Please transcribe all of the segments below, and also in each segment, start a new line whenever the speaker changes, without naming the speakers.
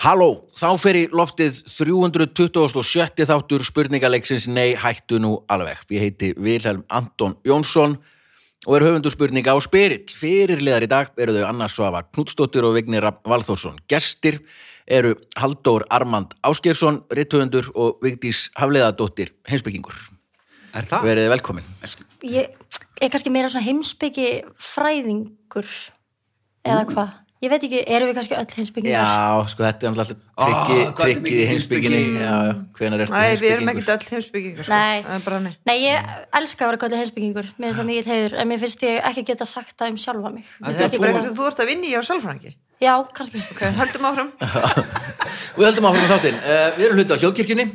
Halló, þá fer í loftið 327. þáttur spurningaleiksins Nei, hættu nú alveg. Ég heiti Vilhelm Anton Jónsson og er höfundur spurninga á Spirit. Fyrirliðar í dag eru þau Anna Svavar Knútsdóttir og Vignir Rafn Valþórsson. Gestir eru Halldór Armand Áskjörsson, rithöfundur og Vigdís Hafleðadóttir, heimsbyggingur.
Er það?
Verið velkomin.
Ég er kannski meira svona heimsbyggi fræðingur eða hvað. Ég veit ekki, erum við kannski öll heimsbyggingar?
Já, sko, þetta er alltaf
Ah,
trikki,
hvað ertu
trikkið í
mikið
heimsbygginni. Já, já, hvenar ertu
Nei, við erum
heimsbyggingur?
ekkert öll heimsbyggingar sko.
Nei.
Það er bara nei
Nei, ég elska að vera gott heimsbyggingur, mér finnst það mikið heiður, en mér finnst ég ekki geta sagt það um sjálfa mig.
Þetta er ekki bara eitthvað sem þú ert að vinna í á sjálfrangi
Já, kannski.
Ok, höldum áfram
Við höldum áfram með þáttinn. Uh, við erum hluti á hljóðkirkjunni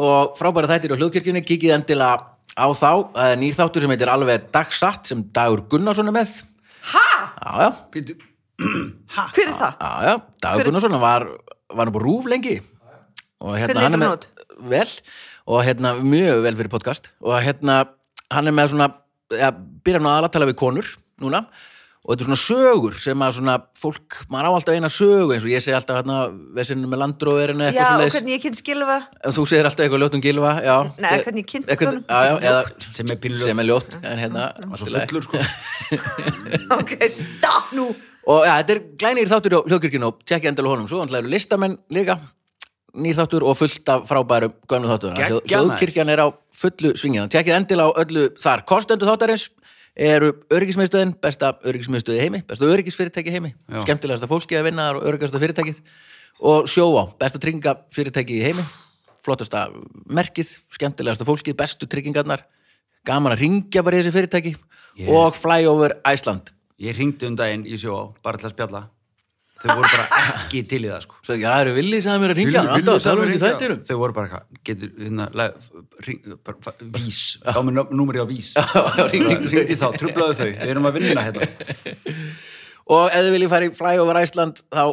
og frábæra þættir á hljóðkirkjunni. Kikið endilega á þá. Það er nýr þáttur sem heitir alveg dagsatt sem Dagur Gunnarsson er með.
Ha?
Já, já,
Býtu,
Hver er það?
já, já. Dagur Gunnarsson hann var, var nú bara rúf lengi. Og hérna,
Hvernig
hann er
lítur hann
með, vel og hérna mjög vel fyrir podcast og hérna hann er með svona, ja, byrja hann að aðlatala við konur núna og þetta er svona sögur sem að svona fólk, maður á alltaf eina sögu eins og ég segi alltaf hérna, við sinnum með landróðurinn
Já,
eitthvað
og
svoleiðis.
hvernig ég kynnt skilfa
En þú segir alltaf eitthvað ljótt um gilva, já.
Nei, hvernig ég kynntist
Eitthvað-
honum.
Já, já, eða
sem er pílur
sem er ljótt, en hérna, allt í
svo
lagi.
fullur sko
Ok, stopp nú
Og já, þetta er glænir þáttur hjá hljókirkjunum og tekja endalega honum. Svo náttúrulega eru listamenn líka, nýr þáttur og fullt af frábærum gömlu þáttur.
Geggjað, maður.
Hljókirkjan er á fullu svingina. Tekja endilega á öllu þar. Kostendu þáttarins eru öryggismiðstöðin, besta öryggismiðstöði heimi, besta öryggisfyrirtæki heimi,
Já.
skemmtilegasta fólki að vinna þar og öryggasta fyrirtækið og sjóvá, besta tryggingafyrirtæki í heimi, flottasta merkið, skemmtilegasta fólkið, bestu tryggingarnar, gaman að ringja bara í þessi fyrirtæki
Yeah.
og Flyover Iceland.
ég ringdi um daginn í sjó á bara til að spjalla þau voru bara ekki til í það sko
Svo, já, það eru villið sem það mér að ringja hann,
Vilja-
alltaf
vilja
að tala um
sagði
ekki
mér
þættinum.
hringja. þau voru bara eitthvað getur hérna lag- hring- bara fa- vís þá með númeri á vís ringdi þá, trublaðu þau, við erum að vinna hérna
Og ef þið viljið fara í fly over Iceland, þá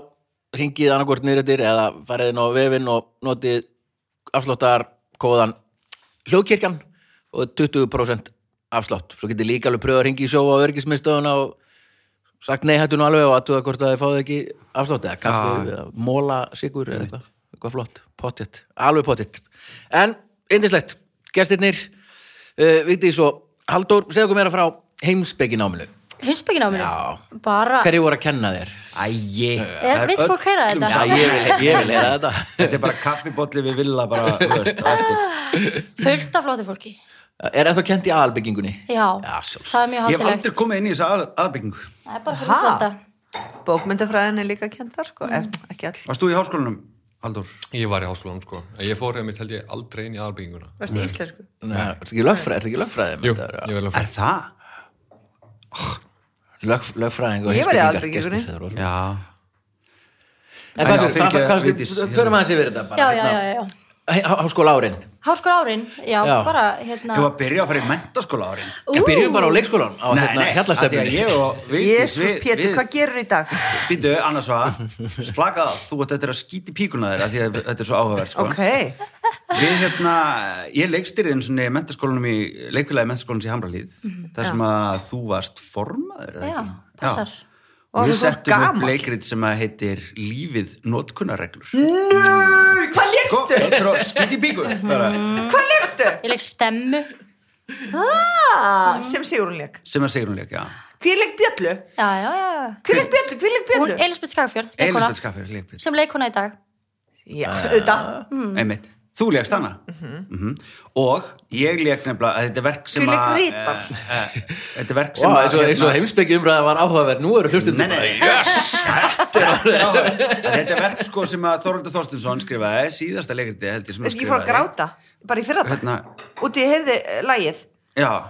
ringið annarkvort nýröttir eða farið inn á vefinn og notið afsláttar kóðan hljóðkirkjan og 20% afslátt. Svo getið líka alveg pröfað að ringi í sjó á örgismistöðuna og sagt nei hættu nú alveg og aðtuga hvort að þið fáðu ekki afslátt eða kaffi
Já.
eða móla sigur eða eitthvað. Eitthvað flott, pottitt, alveg pottitt. En, indislegt, gestirnir, uh, Vigdís og Halldór, segðu okkur meira frá heimsbyggináminu.
Heimsbyggin á mér?
Já.
Bara,
Hverju voru að kenna þér?
ægi
er, vill fólk heyra
Já,
þetta?
ég vil, ég vil eða þetta.
þetta er bara kaffibolli við vilja bara, þú veist, á eftir
Fullt af flóti fólki.
Er ennþá kent í aðalbyggingunni?
Já,
Já, sjálfs.
það er mjög
ég hef
hátilegt.
aldrei komið inn í þessa að, aðbyggingu
Það er bara fyrir
Ha?
útlanda.
Bókmyndafræðin er líka kent þar sko er, Ekki all
varst þú í háskólanum, Haldur?
Ég var í háskólanum sko Ég fór einmitt held ég aldrei inn í aðalbygginguna
Varstu í íslensku?
Nei, ertu ekki lögfræði? Ertu ekki lögfræði?
Jú, ég vil að fara
er það?
Lög, lögfræðing og
Ég var í
heimspekingar,
aðalbyggingunni.
gestir, þetta er rosa.
já
En
Já,
hvað sér,
fyrirgefðu,
hvað
Vigdís,
sér, förum aðeins yfir þetta
Já,
bara.
já, já, já.
já. Háskóla árin.
Háskóla árin, já,
Já.
bara, hérna.
Þú var að byrja að fara í mentaskóla árin
En byrjum bara á leikskólan, á hérna
af því að
hjallastefni.
ég og Vigdís,
Jésús
við-
Pétur,
við- Sko.
hvað gerir í dag?
Býtu, annars var, slaka það, þú ætti eftir að skýti píkuna þér af því að þetta er svo áhugaverð, sko.
Ok,
Við hérna, ég leikstýrið einu svona mentaskólanum í, leikfélagi mentaskólanum í Hamralíð,
Mhm,
þar sem að þú varst formaður, eða
Já,
ekki?
passar.
Og
Og
þú
við
ert
settum upp
gamall.
leikrit sem að heitir Lífið notkunarreglur.
hvað
Sko,
lérstu?
þetta er að skýti píku. bara,
Hvað lérstu?
Ég leik stemmu.
Ah, sem Sigrun leik
Sem að segja hún leik, já.
Hver leik bjöllu?
Já, já, já, já.
Hver leik bjöllu? Hver leik
Hún,
bjöllu?
Elisabeth Skagfjörn, leikkona,
Elisabeth Skaffir, leikrit.
sem leikona í dag.
Já, þetta
Ah,
Mhm.
einmitt, þú legst hana mhm. og ég leg nefnilega að þetta er verk sem
Þú lék
að
Ritar.
eh, eh, þetta er verk sem
Vá,
að hérna-
eins og, eins og heimsbyggjum umræða var áhugaverð, nú eru hlustum
Nei, nei, yes, þetta er orðið Þetta er verk sko sem að Þorvaldur Þorstinsson skrifaði síðasta leikriti held ég sem hann
Ég fór
skrifaði.
að gráta, bara í fyrra
Hérna,
Úti ég heyrði eh, lagið
Já,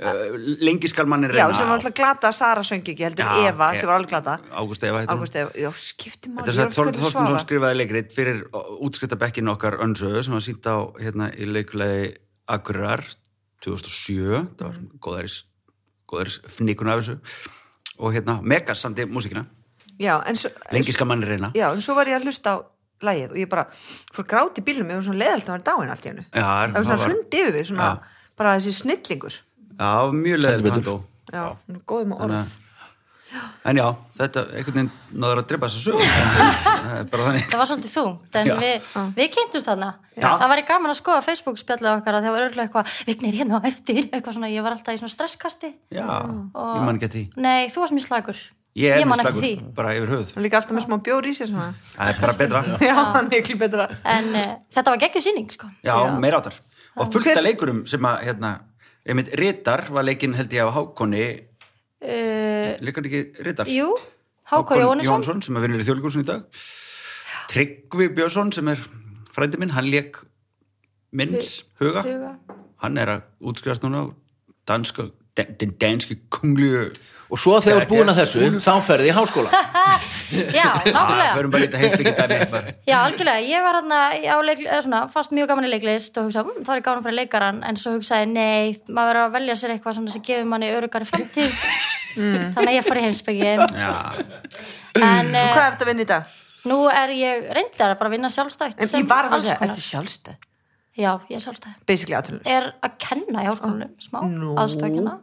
eh, lengi skal manni
Já,
reyna
sem var alltaf glata að Sara söngi ekki heldur
Já,
Eva,
ég-
sem var alveg glata
Ágúst Eva heitir hún.
Ágúst Eva, já, skipti
Þetta
máli
er það
ég var
að
alveg
Þorvaldur
hvernig svara.
Þorstinsson skrifaði leikrit fyrir útskritabekkin okkar önsöðu sem var sínt á hérna, í leikulegi Akurar 2007, það var góðaris góðaris fnikun af þessu og hérna, Megas samdi músikina
Já, en svo,
lengi skal manni reyna
já, en svo var ég að hlusta á lagið og ég bara fór gráti í bílum, ég var svona leiðalt að vera dáin allt í hennu
Já, er-
það var svona
það var-
hrundi yfir mig, svona bara þessi snillingur
Já, mjög leður
Heldur betur.
hann dó
Já, góðum
Þannig
að orð
að- en já, þetta einhvern veginn náður að drepa þess að sögum það er bara þannig
það var svolítið þungt en
Já.
við, við kynntumst þarna
Já.
það væri gaman að skoða Facebook spjallið okkar að það var örgulega eitthvað, vignir hérna á eftir eitthvað svona, ég var alltaf í svona stresskasti
já, ég man ekki að því
nei, þú varst mjög slagur
ég er
man
mjög
ekki
slagur,
því.
bara yfir höfuð
Og líka alltaf með smá bjór í sér svona.
það er bara betra, já,
Já, miklu betra.
en uh, þetta var geggjur síning sko.
meira áttar og fullt
Hver-
af leikurum sem að hérna, einmitt Ritar var leikinn held ég á Hákoni
uh,
leikur ekki Ritar?
jú, Háko Jónesson
Jónsson sem er vinnur í þjóðlíkursum í dag Tryggvi Björnsson sem er frændi minn, hann leik minns huga, hann er að útskrifast núna á danska den, den danski kungliu
og svo þegar þú ert búin að
Yes.
þessu þá ferði í háskóla
já,
það
nákvæmlega
förum bara eitthvað heimsbyggi dæmi bara.
Já, algjörlega, ég var hérna á leik, eða svona, fast mjög gaman í leiklist og hugsaði, mmm, það var ég gaman fyrir leikaran en svo hugsaði, nei, maður verður að velja sér eitthvað svona sem gefur manni örugari framtíð þannig að ég fari heimsbyggi
Já,
en
Og
uh,
hvað er þetta að vinna í dag?
nú er ég reyndlega bara að vinna sjálfstætt
En
sem
ég var að fara að
alls
segja,
konar.
ertu sjálfstæð?
Já, ég er sjálfstætt
Basically aðtunum.
er að kenna í háskólanum, smá,
Nú.
aðstöðkenna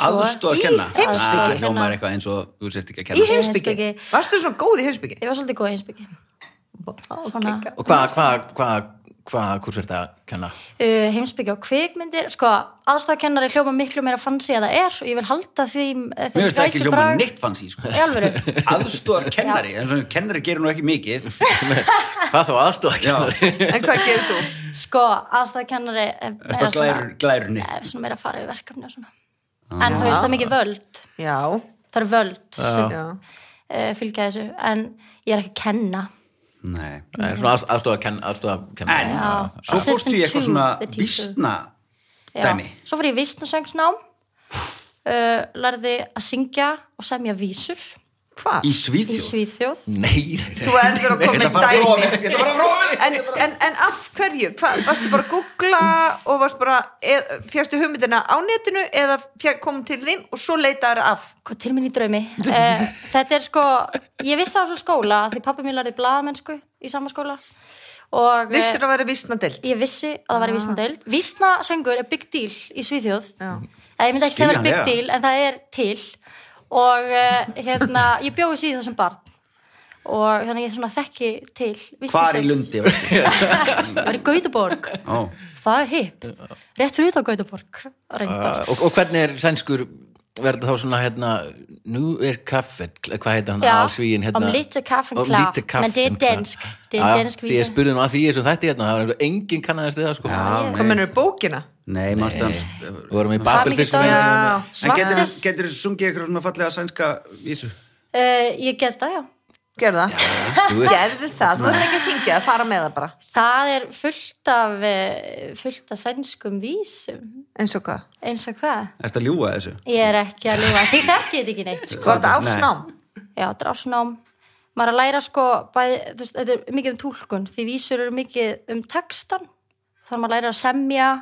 aðstóð að kenna
Í heimsbyggi.
Ah, hljómar eitthvað eins og þú sért ekki að
Í
kenna
heimsbyggi?
heimsbyggi.
Varstu svona góð í heimsbyggi?
Ég var svolítið góð í heimsbyggi Svona.
Svona.
og hvað, hvað, hvað, hvað hvers er þetta að kenna?
uh, heimsbyggja og kvikmyndir sko, aðstæðkennari hljóma miklu meira fansi að það er og ég vil halda því mér
Mér finnst það ekki hljóma neitt fanns í sko.
í alvöru
aðstóðar kennari, en svona kennari gerir nú ekki mikið
hvað þá aðstóð að
Já,
kenna?
En hvað gerir þú?
sko, aðstæðkennari er,
þetta glær, Ah.
er svona,
glærunni
er svona meira að fara við verkefni og svona en þú veist það er mikið völd
Já.
það er völd sem
Já.
uh, fylgja þessu en ég er ekki að kenna
Nei
Nei, svona aðstóð að kenna, aðstóð að kenna.
En
Já.
svo fórstu í eitthvað
Assistant
svona
to the teacher.
vísna
Já.
dæmi.
svo fyrir ég vísnasöngsnám uh, lærði að syngja og semja vísur
Hvað?
Í
í
Svíþjóð. Mm.
Svíþjóð
Nei,
Þú erður að koma
Þetta
með
var
dæmi.
fróðið, þetta var fróðið.
En, en, en af hverju? Hva, varstu bara að googla og varstu bara, eð, fjæstu hugmyndina á netinu eða fjæ, kom til þín og svo leitaður af?
Hvað til minn í draumi? Uh, þetta er sko, ég vissi á þessu skóla því pappi mér lærði blaðamennsku í sama skóla og eh,
Vissur að vera vísnadelt?
ég vissi að það væri vísnadeild. Vísnasöngur er big deal í Svíþjóð.
Já.
Eh, Ég myndi ekki segja að það er big
Skiljanlega.
deal en það er til og uh, hérna, ég bjóði síðu þessum barn og þannig að ég svona þekki til vísnasöngs.
Hvar í Lundi? veistu?
Það var í Gautaborg.
Ó,
Það er hipp. Rétt fyrir utan Gautaborg. Reyndar.
Uh, og, og hvernig er sænskur verður þá svona hérna nú er kaffet, hvað heita hann
Ja,
allsvíin hérna,
om lite kaffen
Om
klar.
lite kaffen
Men det er
klar.
dansk. Det er en
Já, já,
dansk
því
vise.
ég spurði nú að því þessum þætti hérna það var enginn kannaðist eða sko
já,
Hvað mennur bókina?
Nei, mannstu hans.
við vorum í
Það
Babelfiskunum
er mikið
Já.
Ah, En getur,
Svartis.
getur sungið ykkur svona fallega sænska vísu?
Uh, ég get það, já.
Gerðu það? Gerðu það, þú ert ekki að syngja það, fara með það bara.
Það er fullt af, eh, fullt af sænskum vísum,
Eins og hvað?
eins og hvað.
Er þetta að ljúga þessu?
Ég er ekki að ljúga, því þekki ég þetta ekki neitt. Sko.
Var þetta
Nei.
afsnám?
Já, drásnám. Maður er að læra sko, bæði, þú veist, þetta er mikið um túlkun, því vísur eru mikið um textan. Þannig að maður læra að semja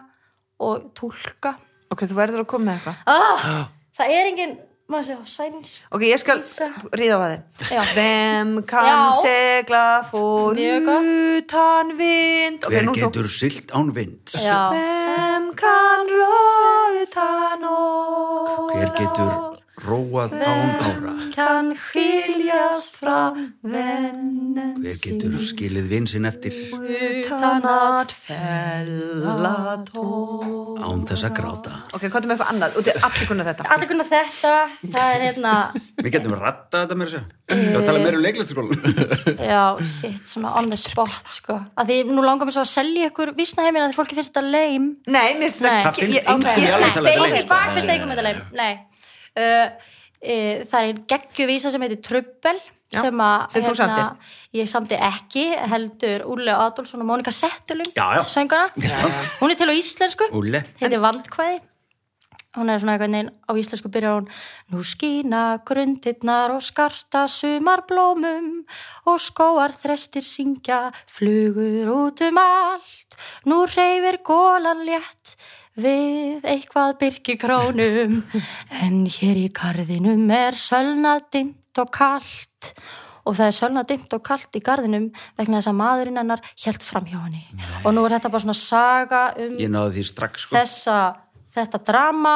og túlka.
Ok, þú verður að koma með eitthvað.
Ah, það er engin, maður sé, sænsk.
Ok, ég skal
Dísa.
ríða á að
Já.
þið. Hvem kann
Já.
segla fór
Mjög gott.
utan vind? Ok,
Hver
nú þú.
getur silt án vind?
Já,
Hvem kann róa utan óra?
Hver getur róað án ára?
kann skiljast frá
vennen
Hver getur skilið vin sinn eftir
utan að fella tón
án þess að gráta?
Ok, hvað er með eitthvað annað? Út í allir kunna þetta
Allir kunna þetta, það er hérna,
Við getum ratta þetta meira sér. Ég var að tala meira um leiklistaskólan.
já, shit, svona on the spot, sko. Að því nú langar mér svo að selja ykkur vísnaheimina að því fólki finnst þetta leim.
Nei, mér finnst þetta
Nei.
Það
Ég-
finnst
ég-
engum
ég-
í alveg
ég-
talað þetta leim,
ok,
sko.
hvað finnst ykkur með þetta leim? Nei. Uh, uh, það er einn geggjuvísa sem heitir Trubbel,
Já,
sem að, hérna,
sem þú samdir.
ég samdi ekki, heldur Úle Adolfsson og Mónika Settulum,
Já, já.
söngana. Hún er til á íslensku.
Úlle.
heitir Vandkvæði hún er svona einhvern veginn á íslensku byrjar hún nú skína grundirnar og skarta sumarblómum og skóar þrestir syngja flugur út um allt nú reyfir gólan létt við eitthvað byrki krónum en hér í garðinum er sölnadimt og kalt og það er sölna dimmt og kalt í garðinum vegna þess að maðurinn hennar hjælt fram hjá henni og nú er þetta bara svona saga um
Ég náði því strax sko.
þessa, þetta drama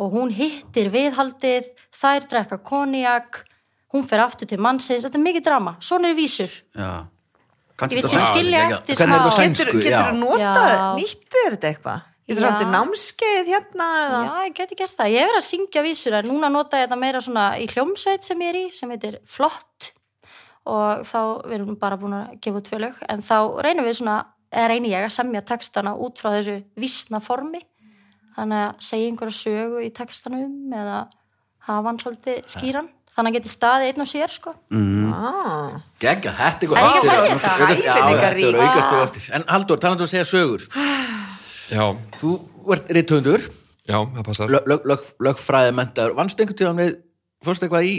og hún hittir viðhaldið, þær drekka konjak, hún fer aftur til mannsins, þetta er mikið drama, svona er vísur.
já.
Ég
Kanntu
vil
þetta
ekki
frá?
skilja
Já,
eftir
hvernig er það
smá-
sænsku?
getur,
já.
getur notað,
Já.
nýttir þetta eitthvað getur
Já.
þetta námskeið hérna eða
Já, ég geti gert það. Ég hef verið að syngja vísur en núna nota ég þetta meira svona í hljómsveit sem ég er í, sem heitir Flott og þá við erum bara búin að gefa út tvö lög, en þá reynum við svona, eða reyni ég að semja textana út frá þessu vísna formi þannig að segja einhverja sögu í textanum eða hafa hann svolítið skýran þannig að hann geti staðið einn og sér sko
Ah.
Gegga, þetta er
Er ég að segja
Já,
þetta?
já, þetta er
Hæfileikarík.
aukast og eftir En Haldur, talandu um að segja sögur
Já,
Þú ert rithundur,
já, það passar.
lög, lög, lög, lögfræði mentaður Vannst einhvern tíðan við, fórst eitthvað í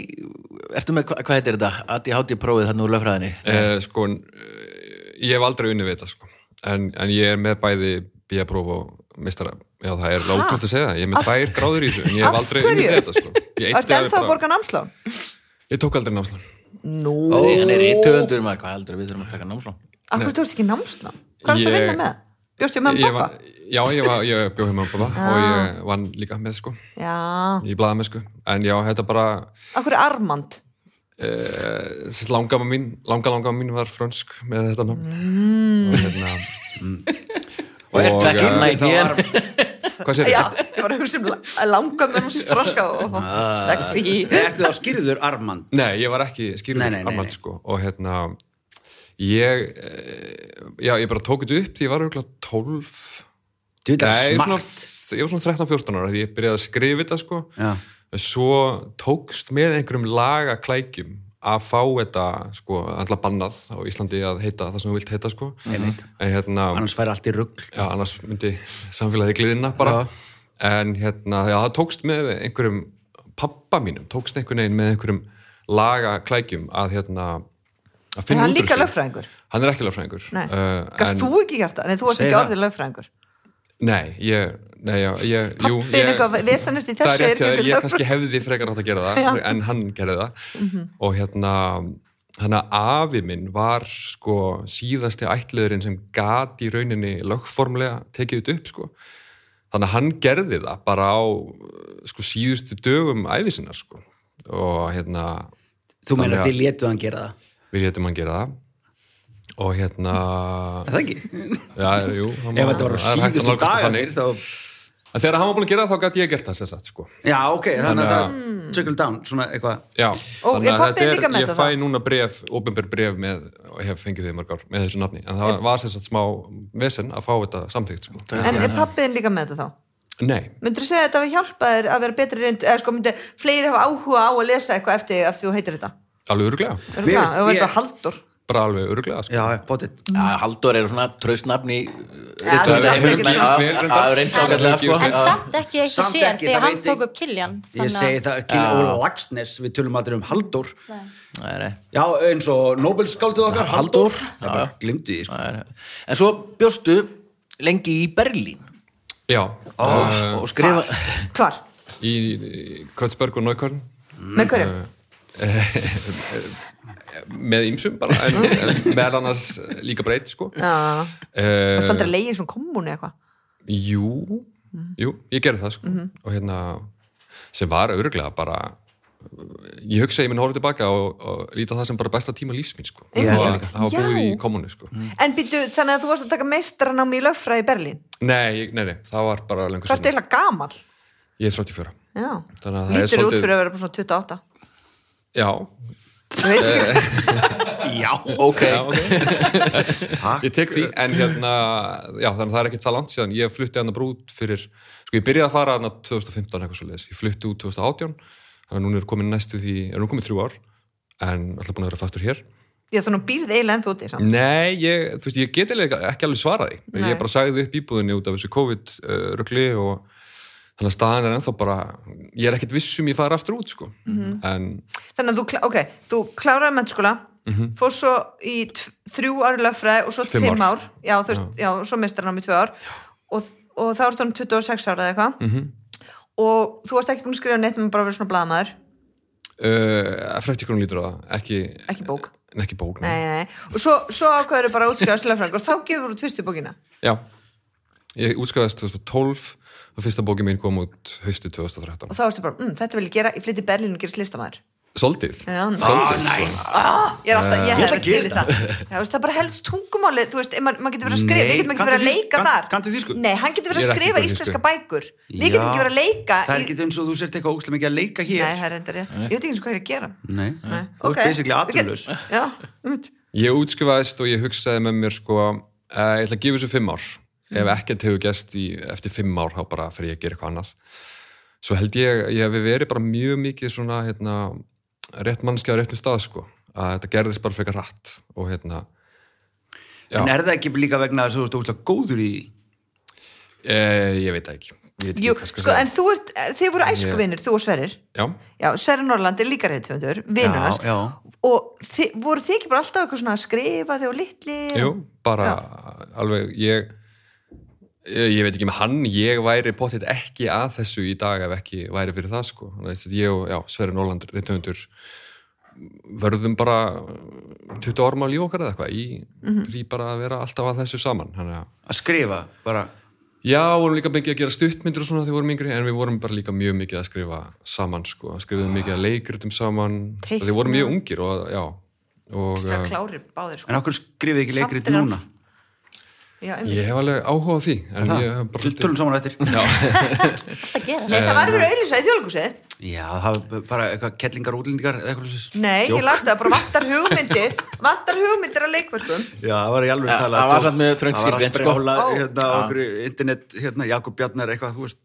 Ertu með, hva- hvað heitir þetta? Adi Hátti prófið þarna úr lögfræðinni
Eh, sko, eh, ég hef aldrei unni við þetta, sko. En, en ég er með bæði B-próf og mistara. Já, það er látult að segja það. Ég er með tvær gráður í þessu, en ég hef
Af
aldrei unni við
hverju?
þetta, sko. Ég,
Ertu
eyddi alveg
ennþá að
bara-
borga námslán?
ég tók aldrei námslán.
Nú,
Ó, hann er rithundur, maður, hvað heldur við þurfum að taka námslán
akkur þú ert ekki námslán? Hvað ertu að
Ég-
vinna með? Bjóstu með
Ég
mamma
var,
pappa?
já, ég, var, ég bjóð heima um bóða og ég vann líka með, sko.
Já,
Í blaðamennsku. En já, þetta bara...
akkur er Armand?
Eh, sem sagt, langama mín, langa langama mín var frönsk með þetta nafn og hérna mm.
Og ert það
eh,
hérna
kynna í
þá
hér
var- hvað sér
Já, Ah.
þetta?
ég var að hugsa um la- langa með hans froska og sexy
Ertu þá skýrður Armand?
Nei, ég var ekki skýrður
Nei, nei, nei, nei.
Armand sko og hérna ég, eh, já, ég bara tók þetta upp því ég var auðvitað 12
Þú veit að
Nei, ég var
smart.
svona, ég var svona 13-14 ára því ég byrjaði að skrifa þetta sko
Já.
en svo tókst með einhverjum lagaklækjum að fá þetta sko, alltaf bannað á Íslandi að heita það sem þú vilt heita sko en hérna
Annars fær allt í rugg.
já, annars myndi samfélagið gliðina bara, en hérna já, það tókst með einhverjum pappa mínum, tókst einhvern veginn með einhverjum lagaklækjum að hérna að
En
finna
hann
út úr
líka
þessu.
lögfræðingur
hann er ekki lögfræðingur
Nei,
Eh,
gast
en-
þú ekki gert það? Nei, þú varst
Segðu
ekki
það.
orðið lögfræðingur
nei, ég, nei, já, ég jú,
Pappin eitthvað vesanist í þessu
það er
er ekki
rétt, ég,
sem
ég
lögfræðingur.
kannski hefði frekar átt að gera það, en hann gerði það
Mhm.
og hérna hann að afi minn var sko síðasti ætliðurinn sem gat í rauninni lögformlega tekið þetta upp sko þannig að hann gerði það bara á sko síðustu dögum æfisinnar sko og hérna
Þú meina
Þannig
að
að-
þið létuð hann gera það.
við hétum hann gera það og hérna
Er það ekki?
já, jú, það má-
Ef þetta voru
það er hægt að
síðustu
nálgast það
dagarnir
þannig.
þá...
En þegar hann var búin að gera það þá gæti ég gert það sér satt sko
Já, ok, þannig að
Þannig að-
það trickle down, svona eitthvað.
Já,
Og
þannig
er
að
pabbi
þetta
líka með
ég
þetta
fæ
þá?
núna bref, ópenbær bref með, og hef fengið þau í mörg ár með þessu nafni, en það var sem sagt smá vesen að fá þetta samþygt sko.
En er pappiðin líka með þetta þá?
Nei,
Myndur þú segja að þetta hafi hjálpað þér að vera betri reynd eða sko myndi fleiri hafa áhuga á að lesa eitthvað eftir því að þú heitir þetta?
alveg öruglega
Örugglega,
Mér finnst-
Þú verður
ég-
bara haldur
bara alveg öruglega sko.
Já, potið.
Já, Haldur er svona uh, traustnafni
Ja,
það hefur gefist vel, reyndar.
Það er reynst
Það hefur
ágætlega sko
gefist vel.
en samt ekki eitt og
Samt
sér
ekki,
því
það
að hann
veit ég.
tók upp Kiljan
Ég segi það, Kili Óla Laxnes, við tölum aldrei um Haldur.
Nei, nei.
Já, eins og Nobelskáldið okkar, Haldur.
Halldór.
Það bara glimti því, sko.
Nei, nei. En svo bjóstu lengi í Berlín
Já,
og skrifa
Hvar?
í, í Krötsberg og Nókvarn
Með hverjum?
Mm. með ýmsum bara, en, en meðal annars líka breyt sko.
Já, varst
Eh,
aldrei legin svona kommuni eitthvað
Jú, jú, ég gerði það sko og hérna sem var öruglega bara ég hugsa að ég minn horfði tilbaka og, og líta það sem bara besta tíma lífsmín sko
Ég
og
held
að
líka.
hafa búið
Já.
í kommunu sko
En býtu, þannig að þú varst að taka meistranám í lögfræði í Berlín
nei, ég- nei, nei, það var bara lengur
Hvað ertu
seinna.
eiginlega gamal?
ég er 34
Já,
Þannig að það er
lítur út
svolítið-
fyrir að vera bara svona 28
já,
Þú veit ekki
Já, ok
já ok ég tek því, en hérna já, þannig að það er ekki það langt síðan ég flutti hann að brút fyrir, sko ég byrjaði að fara hann 2015 eitthvað svo ég flutti út 2018 þannig að núna er komin næstu því, er nú komin þrjú ár en alltaf búin að vera fastur hér
Já, þannig að hún býrð eiginlega ennþá úti samt.
Nei, ég, þú veist, ég get eiginlega ekki alveg svarað því.
Nei.
Ég bara sagði upp íbúðinni út af þessu COVID-rugli og þannig að staðan er ennþá bara, ég er ekkert viss um ég fara aftur út, sko.
Mhm.
En
Þannig að þú, klá- ok, þú kláraði mennskóla fór svo í tv- þrjú ári lögfræði og svo
Fimm
Mhm. fimm,
ár.
ár. Já, þú veist, já, svo meistranám í tvö ár og, og þá ertu hann 26 ára eða eitthvað og þú varst ekki búin að skrifa neitt með bara verið svona blaðmaður
uh, frektíkunum lítur á það, ekki,
ekki bók,
en ekki bók.
nei, nei, nei og svo, svo ákveður bara að útskrifa sérlega og þá gefur þú út fyrstu bókina
Já, Ég útskæðast 2012 og fyrsta bóki mín kom út haustu 2013.
og þá erstu bara, mm, þetta vil ég gera, ég flytti í Berlín og gerast listamæður
Svolítið.
Já, ná.
Svolítið,
nice.
sko.
ah, ég er alltaf, ég
Eh, Ég ætla
hef
að
ekki til í
gera
það Já, veist, það er bara helst tungumálið þú veist, ef maður maður getur verið að skrifa,
Nei,
við getum ekki
kanntu þýsku?
verið að leika
Kann-
þar
kanntu þýsku?
nei, hann getur verið
Ég
að
er ekki
skrifa
góð í þýsku.
íslenska bækur við getum
Já,
ekki verið að leika
Það er
í-
ekki eins og þú sért eitthvað ógæslega mikið að leika
nei,
hér
það er enda rétt, ég veit ekki eins og hvað ég er að gera
Nei,
Nei.
þú
Ok.
ert basically
Við getum-
atvinnlaus
já, einmitt.
Ég útskrifaðist og ég hugsaði með mér sko, uh, ég ætla að gefa þessu fimm ár
Mm.
ef ekkert hefur gæst í, eftir fimm ár þá bara fer ég að gera eitthvað annar svo held ég, ég hefði verið bara mjög mikið svona hérna, rétt mannskja á réttum stað sko að þetta gerðist bara frekar rætt og hérna já,
En er það ekki líka vegna þess að þú ert ógæslega góður í því?
e, ég veit það ekki ég veit ekki
Jú,
hvað
sko,
skal segja.
en þú ert, þið voru æskuvinir þú og Sverrir,
já,
já, Sverrir Norland er líka reyðtöfundur, vinnur hans
já.
og þi, voru þið ekki bara alltaf eitthvað svona að skrifa þegar litli
jú, bara alveg ég ég ég veit ekki með hann, ég væri potið ekki að þessu í dag ef ekki væri fyrir það sko, Þannig að ég og já, Sverri Nóland reyndtöfundur verðum bara 20 orma líf okkar eða eitthvað í, í bara að vera alltaf að þessu saman þannig að
Að skrifa, bara
Já, vorum líka mikið að gera stuttmyndir og svona þegar við vorum yngri, en við vorum bara líka mjög mikið að skrifa saman, sko, skrifum mikið að leikritum saman,
Teikna.
þegar við vorum mjög ungir og, já, og
það
eh,
klárir báðir sko.
En okkur skrifið ekki
Samt
leikrit
er hann-
núna
já, einmitt.
ég hef alveg áhuga á því en
Það,
ég hef bara
Til tölum saman á eftir
Alltaf gerast.
Nei, það var verið auðlýsa í þjóðlugusið
Já, það er bara eitthvað kellingar og útlendingar eða eitthvað svoleiðis.
Nei,
Jók.
ég las það, bara vantar hugmyndir Vantar hugmyndir að leikverkum
Já, það var í alveg
Já,
talað
það var samt mjög þröngt skilgreint,
Það
sko.
var allt
Ó.
brjála, hérna, okkur internet, hérna, Jakob Bjarnar, eitthvað, þú veist,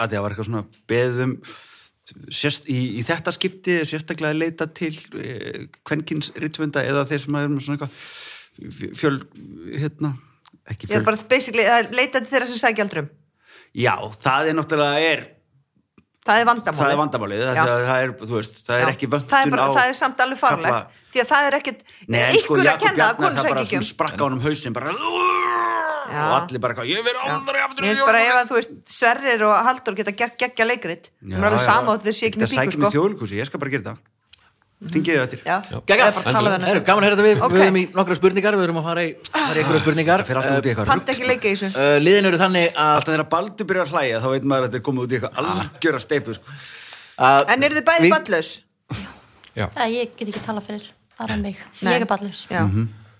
að það var eitthvað svona beðum, sérst, í, í þetta skipti er sérstaklega að leita til eh, kvenkins rithvenda eða þeir sem er með svona eitthvað f- fjöl, hérna, ekki
Ég
fjöl.
er bara basically að leita til þeirra sem sækja aldrum
Já, það er náttúrulega, er,
Það er vandamálið
það er vandamálið, það,
Já.
það er, þú veist, það
Já.
er ekki vöntun
það er, bara,
á...
það er samt alveg
kalla-
farlegt Því að það er ekkit
Nei, en sko,
ykkur að
Jakob
kenna
Bjarnar,
að konu
það
sækja
bara
ekki
svona
um
sprakk á hann um hausin, bara, og allir bara, eitthvað, ég verð aldrei aftur í
Ég veist bara ef að þú veist Sverrir og Haldur geta gegg- geggja leikrit Það er alveg sama og þeir sé ekki með
Það
bíkur
sækjum við
sko
þjóðlíkúsi, ég skal bara gera það Ringiðu eftir
Já,
Gægja.
eða bara tala við hana
Heru, gaman að herra þetta við,
Ok.
við erum í nokkra spurningar, við erum að fara í, fara í einhverja spurningar
Það fer alltaf út í eitthvað rugg
Panta ekki leika í þessu
uh, Liðin eru þannig að,
Alltaf þegar Baldur byrjar að hlæja þá veit maður að þetta er komið út í eitthvað
Ah.
algjöra steipu sko.
að
En eru þið bæði
við-
ballaus?
já,
Æ, ég get ekki tala fyrir aðra en mig.
Nei.
Ég er ballus.
Já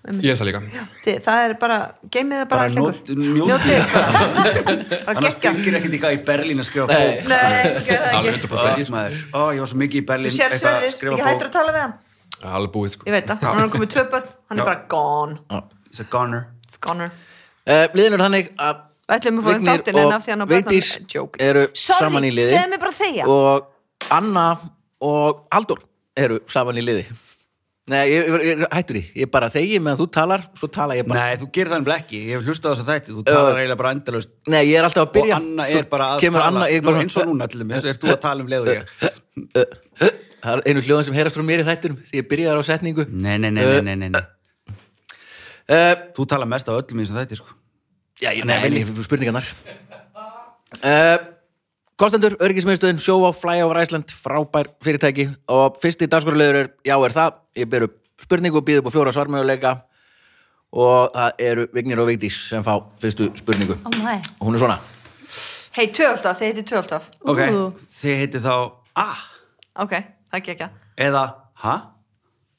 ég er það líka
Þið, það er bara, geymið það bara,
Mhm. Bara
allt lengur.
nót- njótið.
Njótið þess bara bara
Annars
gekka
byggir ekkert eitthvað í Berlín að skrifa
Nei.
bók sko.
Nei, gerðu það
alveg
ekki
100%
Ó, maður. Ó, ég var svo mikið í
Þú
Berlín
sér
eitthvað
Sverrir,
að
ekki
skrifa
hættur að
bók
tala við hann
alveg búið, sko
Ég veit það, hann er komið tvö börn Hann
Já.
er bara gone,
It's a goner
it's goner
uh, Liðin eru þannig að
Ætlum við að fá um
Vignir
þáttin en
og
af því hann á börn
Vigdís eru saman í liði.
segðu mig bara þegja
og Anna og Haldur eru saman í liði Nei, ég, ég, ég hættur því, ég bara þegi meðan þú talar, svo tala ég bara
Nei, þú gerir það nefnilega ekki, ég hef hlustað á þess að þætti Þú talar
Ö.
eiginlega bara endalaust
Nei, ég er alltaf að
Og
byrja
Anna
svo
er bara að
kemur
tala
Anna, ég
Nú,
bara
Eins og núna til þess, er þú að tala um leiðu ég
Það er einu hljóðan sem heyrast frá mér í þættunum því ég byrjaði á setningu
Nei, nei, nei, nei, nei, nei, nei.
uh,
Eh. Þú talar mest af öllum eins og þætti sko.
Já, ég nefnir fyrir spurningarnar uh, Kostendur, öryggismiðstöðin, show á Fly over Iceland frábær fyrirtæki og fyrsti dagskorulegur er, já er það ég ber upp spurningu og býð upp á fjóra svarmöguleika og það eru Vignir og Vigdís sem fá fyrstu spurningu
Ó, næ.
og hún er svona
Hei, tvöldaf, þið heiti tvöldaf
Ok,
Ú.
þið heiti þá Ah,
Ok, það gekka
eða Ha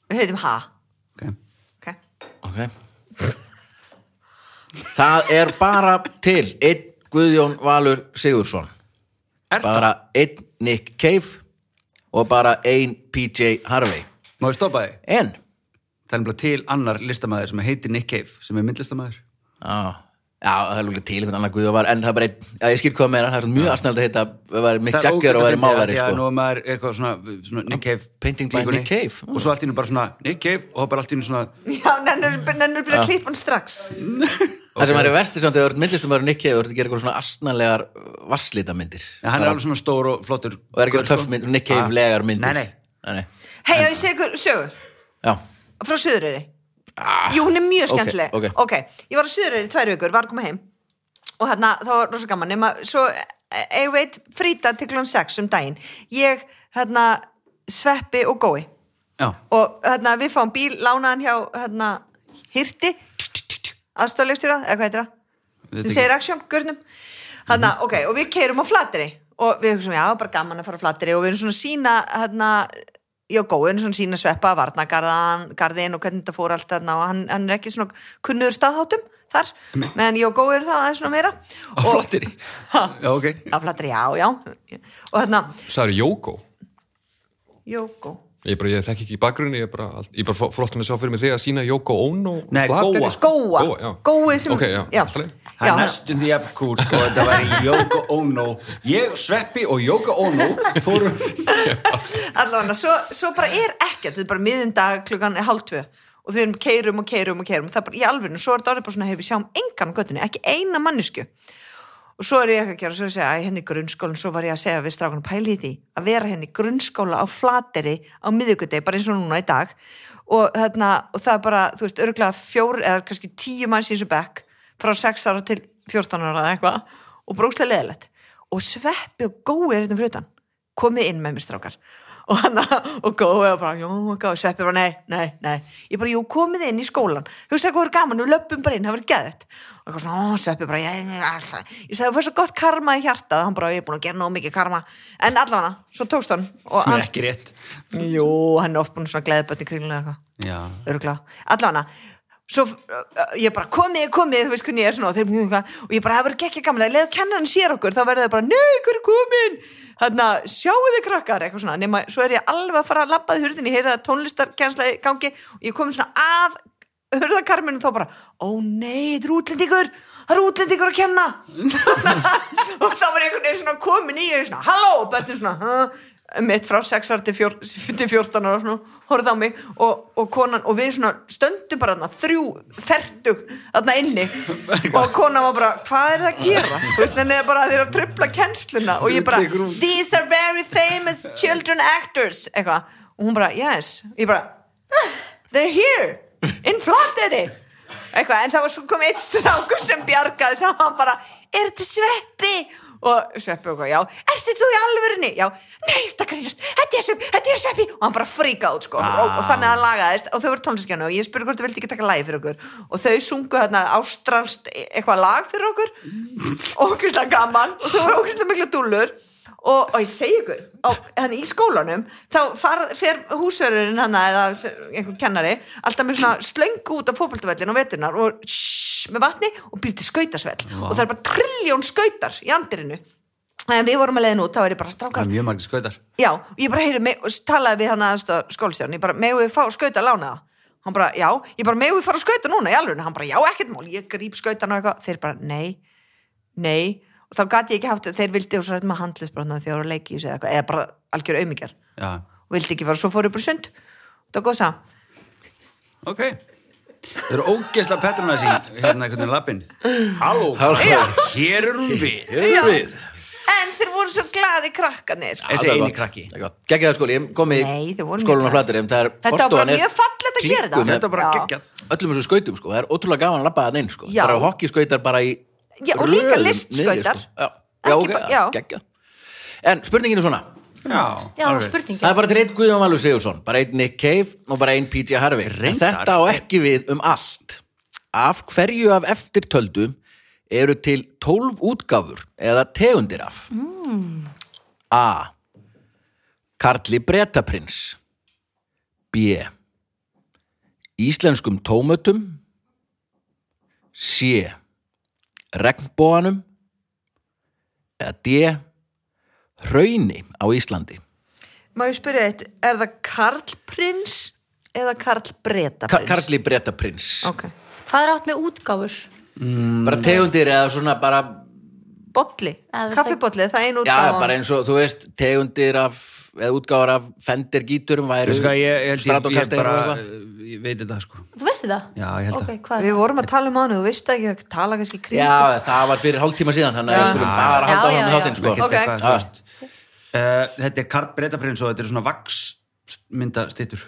Við heitum ha
okay.
Ok,
okay. Það er bara til einn Guðjón Valur Sigursson
Er
bara einn Nick Cave og bara einn PJ Harvey
það? Má ég stoppa þig?
en
Það er nefnilega til annar listamæður sem heitir Nick Cave sem er myndlistamæður
Já, já það er lúklega til einhvern annar guð og var, en það er bara einn, já ég skil hvað meira, það er mjög aðsnæld að heita, það var Mick Jagger og væri málari,
Já, nú
sko. Ah,
er maður eitthvað svona, svona Nick Cave
Painting by
klíkunni.
Nick Cave, mm.
Og svo allt í hennu bara svona Nick Cave og það bara allt í hennu svona
já, nennur byrja að klippa hann strax
Það sem væri versti samt að það voru myndlistum að vera Nick Cave, það voru að gera eitthvað svona aðsnælegar vasslítamyndir.
En hann er alveg svona stór og flottur
Og er ekki
gaur,
töff
sko.
mynd, Nick Cave legar myndir.
Nei, nei
Nei, nei.
Hei, já, ég segi ykkur sögu
Já,
frá Suðureyri
Ah,
Jú, hún er mjög
ok,
skemmtileg
ok.
Ég var á Suðureyri í tvær vikur, var að koma heim og hérna, þá var rosa gaman nema, svo, e- eigum við eitt frítag til klón 6 um daginn ég, hérna, sveppi og gói
Já,
og hérna, við fáum bíl, lánaðan hjá hérna, hirti aðstoflegstjóra, eða hvað heitir það? sem segir aksjón, görnum Hanna,
Mhm.
ok, og við keirum á flatri og við hugsaum, já, bara gaman að fara á flatri og við erum svona að sína hérna, já, góð, við erum svona að sína sveppa að varnagarðin og hvernig þetta fór allt þarna og hann, hann er ekki svona kunnuður staðháttum þar, meðan já, góð eru það aðeins svona meira
á
Og-
flatteri já, ok,
á flatri, já, já og hérna,
Það er Jóko
jógó
Ég bara, ég þekki ekki bakgrunni, ég bara, ég bara fó- flott hann að sjá fyrir mig þig að sína Jóko Ono
Nei,
Flateyri,
Góa.
sko.
góa,
Góa, já.
gói sem
Ok, já,
já,
allt í lagi.
það er
já,
næstum því jafn kúl sko, þetta væri Yoko Ono ég, Sveppi og Yoko Ono fórum
allavega, svo, svo bara er ekkert, þetta er bara miðindag klukkan er hálftvö og við erum keirum og keirum og keirum, það er bara í alveg svo er þetta orðið bara svona, hefur við sjáum engan á göttinu ekki eina mannisku og svo er ég ekki að gera, svo er ég að segja, æ, henni grunnskólan svo var ég að segja við strákan pæli í því að vera henni grunnskóla á flateri á miðvikudegi, bara eins og núna í dag og, þarna, og það er bara, þú veist, örgulega fjór eða kannski tíu manns í þessu bekk frá 6 ára til 14 ára eða eitthvað og brókslega leðilegt og sveppi og gói er þetta fyrir utan komið inn með mér strákar og hann og gói og bara, já, og sveppi bara, nei, nei, nei ég bara, jú, komið inn í skólan hugsaði hvað er gaman, við löpum bara inn, það verður geðið og eitthvað svona, ó, sveppi bara, ég, ég, alltaf ég sagði, það var svo gott karma í hjartað hann bara, ég er búin að gera nóg mikið karma en allavega, svo tókst hann og
sem er
hann,
ekki rétt
jú, hann er oft búin að svona gleðið bönni kringlega eitthvað
já,
öruglega, allavega svo uh, ég bara komið, komið þú veist hvernig ég er svona og, þeir, mjög, hvað, og ég bara, það verður ekki gamlega, leðu kennan sér okkur þá verður það bara, nei, hver er komin þannig að sjáu þið krakkar, eitthvað svona nema, svo er ég alveg að fara að labbaði hurðin ég heyrði að tónlistarkensla í gangi og ég komið svona að hurðakarminu þá bara, ó nei, þetta er útlendingur það er útlendingur að kenna og þá var einhvern veginn svona komin í og ég svona, halló, og börnin svona huh? mitt frá 6 ára til, fjór, til 14 ára svona, horfði á mig og, og konan, og við svona stöndum bara þarna, þrjú, þertug þarna inni og konan var bara hvað er það að gera, þú veist, en bara þeir eru að trubla kennsluna og ég bara these are very famous children actors eitthvað, og hún bara, yes og ég bara, "Ah, they're here in Flattery eitthvað, en það var svo kom eitt strákur sem bjargaði sem hann bara, er þetta sveppi? og sveppi og hvað, já, ertu þú í alvörunni? já, nei, þetta grínast, þetta er sveppi, þetta er sveppi og hann bara fríkað út sko og, og þannig að hann lagaðist og þau voru tónlistkjánu og ég spurði hvort þau vildi ekki taka lagi fyrir okkur og þau sungu hérna ástralst e- eitthvað lag fyrir okkur ókvæmstlega gaman og þau voru ókvæmstlega mikla dúllur og, og ég segi ykkur á, hann, í skólanum þá far, fer húsverðurinn hann eða se- einhver kennari alltaf með svona slöngu út af fótboltavellin og veturnar og shhh, með vatni og býr til skautasvell og það er bara trilljón skautar í andyrinu en við vorum að leiðin út, þá er ég bara
það
strákar
er mjög margir skautar
já, og ég bara heyri mig, og talaði við hann aðeins skólistjón, ég bara, megum við fá skauta að lána það hann bara, já, ég bara, megum við fara að skauta núna í alveg, hann bara, já, ekkert mál, ég gríp skautan og eitthvað, þeir bara, nei nei, og þá gat ég ekki haft þeir vildi og svo rættum að handlisbrotna þegar voru að leiki í þessu eða, eitthvað, eða bara algjör auðmyggjar
já,
vildi ekki fara, svo fóru bara í sund það var góð sá,
ok það eru ógeðsla patronizing hérna einhvern veginn lappin halló,
Halló.
hér erum við
Erum við?
en þeir voru svo glaði krakkanir
þessi
Það er
eini
gott.
krakki
Það er gott. Gekkið það skóli, ég kom í
Nei, þau voru
skólan
mjög
á flateri en það er
Þetta var bara
forstofan er
mjög fallegt að gera þetta.
klikkuð með
þetta er bara
Já.
geggjað
öllum þessu skautum sko, það er ótrúlega gaman að labba það inn sko,
Já.
bara hokkiskautar bara í
Já, og líka
röðum
listskautar.
niður, sko. já, já,
Ekki
ok,
bara-
já.
já.
geggjað. en spurningin er svona
já,
Já,
alveg.
spurning
það er bara til einn Guðjón Valur Sigursson bara einn Nick Cave og bara einn P.J. Harvey en
Reyndar.
þetta á ekki við um allt af hverju af eftirtöldum eru til 12 útgáfur eða tegundir af mm. A Karli Bretaprins B Íslenskum tómötum C Regnbóanum eða D Hrauni á Íslandi
má ég spyrja eitt, er það Karl Prins eða Karl Breta
Ka
Prins
Karli Bretaprins
ok,
Hvað er átt með útgáfur?
Mm. bara tegundir eða svona bara
bolli,
Eða þú veist
kaffibolli það er einu
já,
útgáfan.
bara eins og þú veist tegundir af, eða útgáfar af fender gíturum væri
Veistu hvað, ég, ég, held ég, ég,
Stratocaster
bara,
og eitthvað
ég veit þetta sko
Þú veist þetta?
Já, ég held
Ok,
það.
hvað er
við vorum að tala um hann, þú veist ekki að tala kannski kring
já, það var fyrir hálftíma síðan þannig að við skulum bara halda
Já, já,
áfram með
já.
þáttinn sko.
Ekkert
Ok.
eitthvað, þú
Já.
veist. Eh, Þetta er Karl Bretaprins og þetta er svona vaks mynda stýttur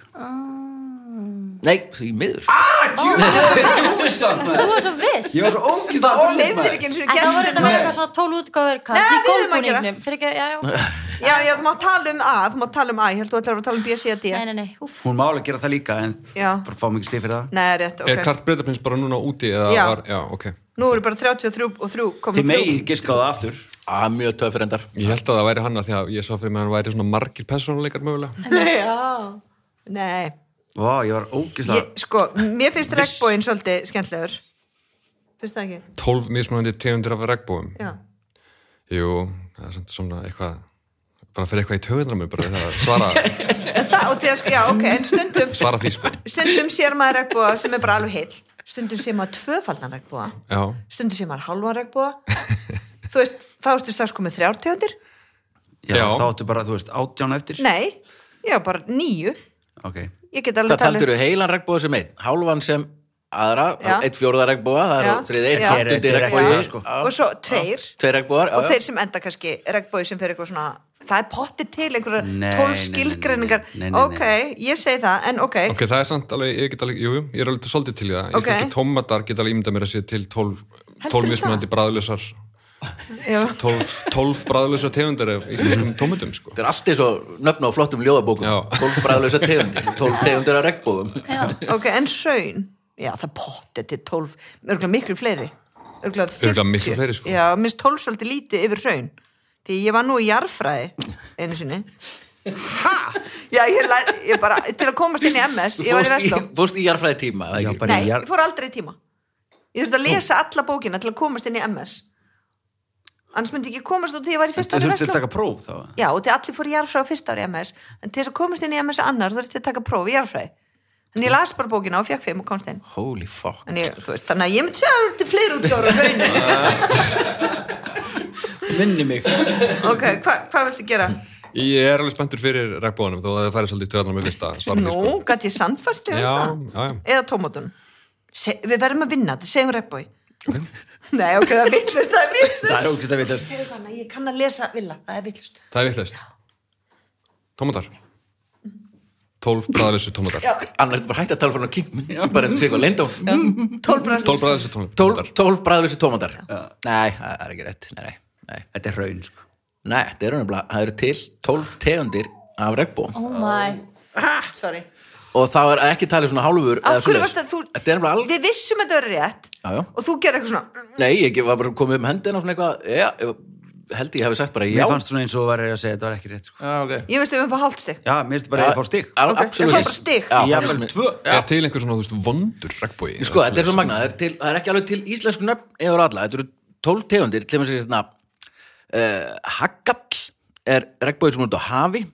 nei, því miður ah,
það? Þú var svo viss
Ég var svo ógæst
það, þú leifðir ekki eins og
En það voru þetta
gestur
verið eitthvað svona tól útgáfur
Nei,
Karl í
við erum að gera.
gólbúningnum Fyrir ekki, já, já
já, já, þú má tala um A, þú má tala um A ég held þú ætlar að vera að tala um B, C, D
Nei, nei, nei, úff
Hún má alveg gera það líka en
Já.
bara fá mikið stið fyrir það
nei, rétt,
Er
ok
Karl Bretaprins bara núna úti? eða
Já.
Var, já, ok.
Nú eru bara 33 og 3 komið
Þið megi giska á það aftur.
að Ah, mjög töfrendar
Ég held að það væri hann að því að ég sá fyrir mig að hann væri svona margir persónuleikar mögulega.
Já. Nei,
Vá, ég var ógislega...
ég, sko, mér finnst regnbóin svolítið skemmtlegur. Finnst það ekki?
12 mismunandi tegundur af regnbúum.
Já.
Jú, það er samt svona eitthvað, bara fyrir eitthvað í tögundra mig, bara það að svara,
En það, og þegar, sko, já, ok, en stundum,
svara því sko.
stundum sér maður regnbóa sem er bara alveg heill. Stundum sér maður tvöfaldan regnbóa.
Já,
Stundum sér maður halvan regnbóa. Þú veist, þá ertu strax komið þrjár tegundir.
Já,
Já.
þá áttu bara, þú veist, átján eftir.
Nei, já, bara nýju.
Ok.
Ég get alveg um
Hvað taldur þau? Heilan regnbóða sem einn, hálfan sem aðra,
Já.
eitt fjórða regnbóða það
Já.
eru þriðið, eitt
Já.
áttundi
Þetta er
regnbóði
eitthvað, sko.
Og svo tveir.
tveir regnbóðar
og
já, já.
þeir sem enda kannski regnbói sem fyrir eitthvað svona það er potti til einhverjar
Nei, nei,
tólf
nei,
skilgreiningar
nei, nei, nei, nei.
ok, ég segi það, en ok,
ok, það er samt alveg, ég get alveg, jú, jú, ég er alveg svolítið til í það.
Ok.
Íslenski tómatar get alveg ímyndað mér að sé til 12,
Heldurðu
12 mismunandi bræðlösar,
Já.
12, 12 bræðlösar tegundur af íslenskum tómatum sko.
Þetta er allt eins og nöfna á flottum ljóðabókum
Já.
12 bræðlösa tegundir, 12 tegundir af regnbóðum
ok, en hraun já, það er potti til tólf örgulega miklu fleiri örgulega,
Örugglega miklu fleiri, sko.
já, minnst tólf svolítið lítið yfir hraun því ég var nú í jarfræði einu sinni já, ég, lær, ég bara, til að komast inn í MS ég var í Vestló
Fórst í jarfræði tíma
Já, bara-
nei,
í jar-
ég fór aldrei í tíma ég þurfti að lesa alla bókina til að komast inn í MS annars myndi ég ekki komast út því ég var í fyrsta
Það
ári í
þurfti að
Versló.
taka próf þá.
Já, og því allir fóru í jarðfræði á fyrsta ári í MS en til þess að komast inn í MS annar þú ertu að taka próf í jarðfræði en ég las bara bókina og fekk fimm og komst inn
Holy fuck
en ég, þú veist, þannig að ég myndi segja að þú ertu fleiri útgjóður á rauninu
Minni mig.
ok, hva, hvað viltu gera?
Hm, Ég er alveg spenntur fyrir regnbúanum, þó að það færi svolítið í tögundra mig fyrsta, svara því
Nú,
sko.
gæti ég sannfært þig um
Já,
það?
já, já.
eða tómatun Se, við verðum að vinna, þetta segjum reppbói nei, ok, það er vittlust það er vittlust
Það er ógislega vitast.
segðu hana, ég kann að lesa villa, það er vittlust
Það er vitlaust. Tómatar. 12 bræðlösar tómatar.
Annars er bara hægt að tala frá hann á kingmin Bara eins og sé eitthvað leynd á
12 bræðlösar tómatar.
12 bræðlösa tómatar Nei, það er ekki rétt Nei, nei, nei.
Þetta er hraun, sko.
nei þetta eru nefnilega, það eru til 12 tegundir af regnbóðum
Oh my.
sorry
og þá er ekki talið svona hálfur
Á
eða
hverju
svoleiðis.
varstu að þú-
Þetta er nefnilega alveg
við vissum að þetta verður rétt
Já, já.
og þú gerir eitthvað svona
Nei, ég var bara komið um hendina og svona eitthvað Já, ég held ég hafi sagt bara já
Mér fannst svona eins og var ég að segja þetta var ekki rétt, sko.
Já, ok Já,
ég veist að við erum að hálft stygg
Já, mér finnst bara að ég fór stig.
al-
Ok,
absolutt.
ég fór bara stig.
Já,
Ég
fannst
fannst
mér-
tvö.
Er til einhver svona, þú veist, vondur regnbúi?
Sko, þetta er svo magnað, það er, til, það er ekki alveg til íslensku nöfn eða alla, þetta eru tólf tegundir til þess að hérna uh, haggall er regnbóið sem er út á hafi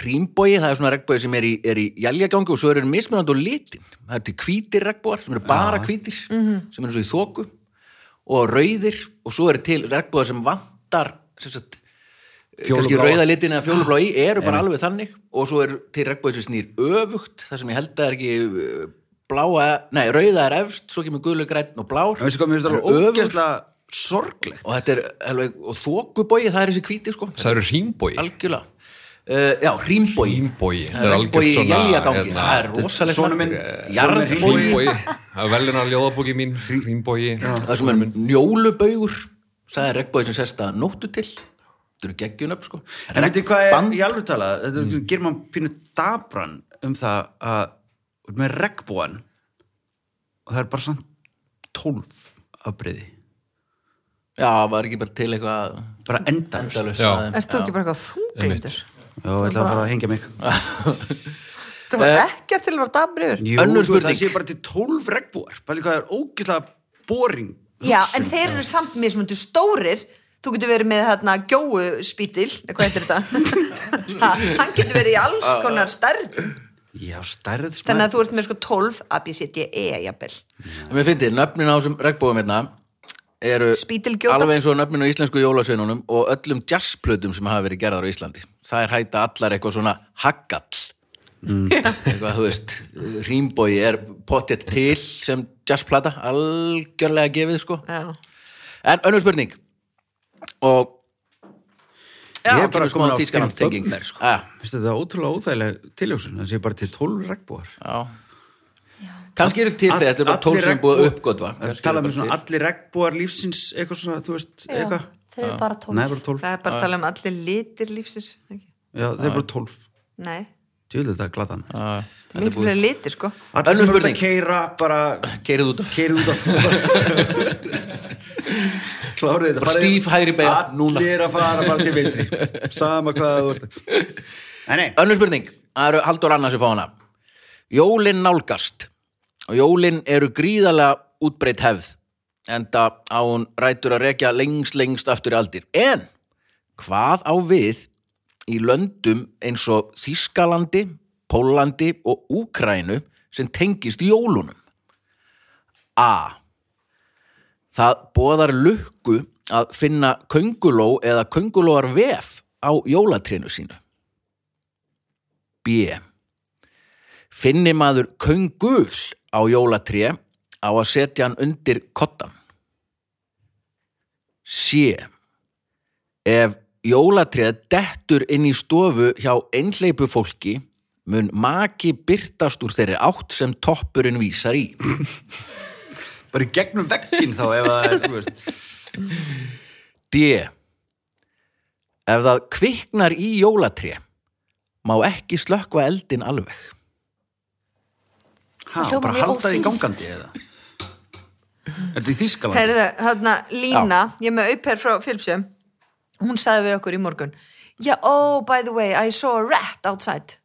rýmbóið, það er svona regnbóið sem er í, er í jæljagangu og svo eru mismunandi og litin það eru til hvítir regnbóar sem eru bara hvítir sem eru svo í þóku og rauðir og svo eru til regnbóið sem vantar sem sagt, eh, kannski
Fjólubláa.
rauða litin eða fjólublá í eru bara alveg þannig og svo eru til regnbóið sem snýr öfugt það sem ég held að er ekki uh, bláa, nei, rauða er efst svo kemur gulur, græn og blár
En veistu hvað, mér finnst
Eru
það
öfugt.
ógislega sorglegt.
og þetta er alveg, og þókubói það er þessi hvíti sko,
Það eru hrímbói.
algjörlega uh, já, rýmbói
Hrímbói.
það er algjörlega svona jæljagangi,
hérna,
það er rosalegt
sonur
nafn.
minn-
Eh,
sonur minn
jarðbói,
Hrímbói. Það er velina ljóðabóki mín, hrímbói.
það sem er njólubaugur það er regnbói sem sérst að nóttu til þetta eru geggjunöf sko
En veitir hvað er
Regnband-
í alveg talað? Þetta mm. gerir mann pínu dabran um það að þú ert með regnbúan og það er bara samt tólf afbreyði.
já, var ekki bara til eitthvað
Bara endalust. Endalust.
endalaust
Já.
aðeins.
Erst þú ekki bara eitthvað þunglindur?
Já, ég ætla bara að hengja mig.
Það var
Eh.
ekkert til að vera dabriður
Jú,
Önnur
þú veist,
spurning.
Það sé bara til tólf regnbúar. Bæli hvað er ógislega boring.
Já, en þeir eru samt mismundu stórir Þú getur verið með hérna gjóuspítil Nei, Hvað heitir þetta? ha, hann getur verið í alls konar stærð
Já, stærð smæð.
Þannig að þú ert með sko 12 ABCDE E, jafnvel
En mér fyndi, nöfnin á þessum regnbóðum hérna eru
Spítilgjóta.
alveg eins og nöfnin á íslensku jólasveinunum og öllum jazzplötum sem hafa verið gerðar á Íslandi. Það er hæta allar eitthvað svona haggall. Eitthvað, þú veist, rýmbói er pottet til sem jazzplata, algjörlega gefið, sko.
Já.
En önnur spurning. Og Já,
Ég er bara
kemur smá
komin á
Þýskaland tenging.
Bömmler, sko.
Já,
Veistu, það er ótrúlega óþægilega tiljósun. Það sé bara til tólf regnbúar.
já. Kannski eru til þegar, þetta er bara tól sem er búið uppgótva.
Tala með svona allir regnbúar lífsins, eitthvað svona, þú veist, eitthvað.
Þeir eru bara
Nei,
tólf.
bara tólf.
Það er bara að tala um allir litir lífsins ekki?
Já, þeir eru bara tólf.
Nei,
Tjóðlega þetta er glatan.
miklu fyrir liti sko
Allir sem eru
Önnur
út að
spurning.
keira, bara
keirið út af
keirið út af klárið þetta
Bara
farið-
stíf hægri beygja, núna.
allir að fara bara til vinstri sama hvað þú ert nei, nei,
Önnur spurning, það eru Haldur Anna sem fá hana Jólin nálgast og jólin eru gríðarlega útbreytt hefð en það á hún rætur að rekja lengst lengst aftur í aldir en hvað á við í löndum eins og Þískalandi, Pólandi og Úkrænu sem tengist jólunum A Það boðar lukku að finna könguló eða köngulóar vef á jólatrénu sínu B. Finni maður köngul á jólatré á að setja hann undir kottan. C. Ef jólatréð dettur inn í stofu hjá einhleipu fólki mun maki byrtast úr þeirri átt sem toppurinn vísar í.
bara í gegnum veggin þá ef það er, þú veist
D. Ef það kviknar í jólatré má ekki slökkva eldin alveg.
ha,
Hljómar
bara
mjög
halda því
ófínt.
gangandi eða er þetta í Þískaland?
Herðu, hérna, Lína, ég er með auper frá Filipsjö hún sagði við okkur í morgun já, oh, by the way, I saw a rat outside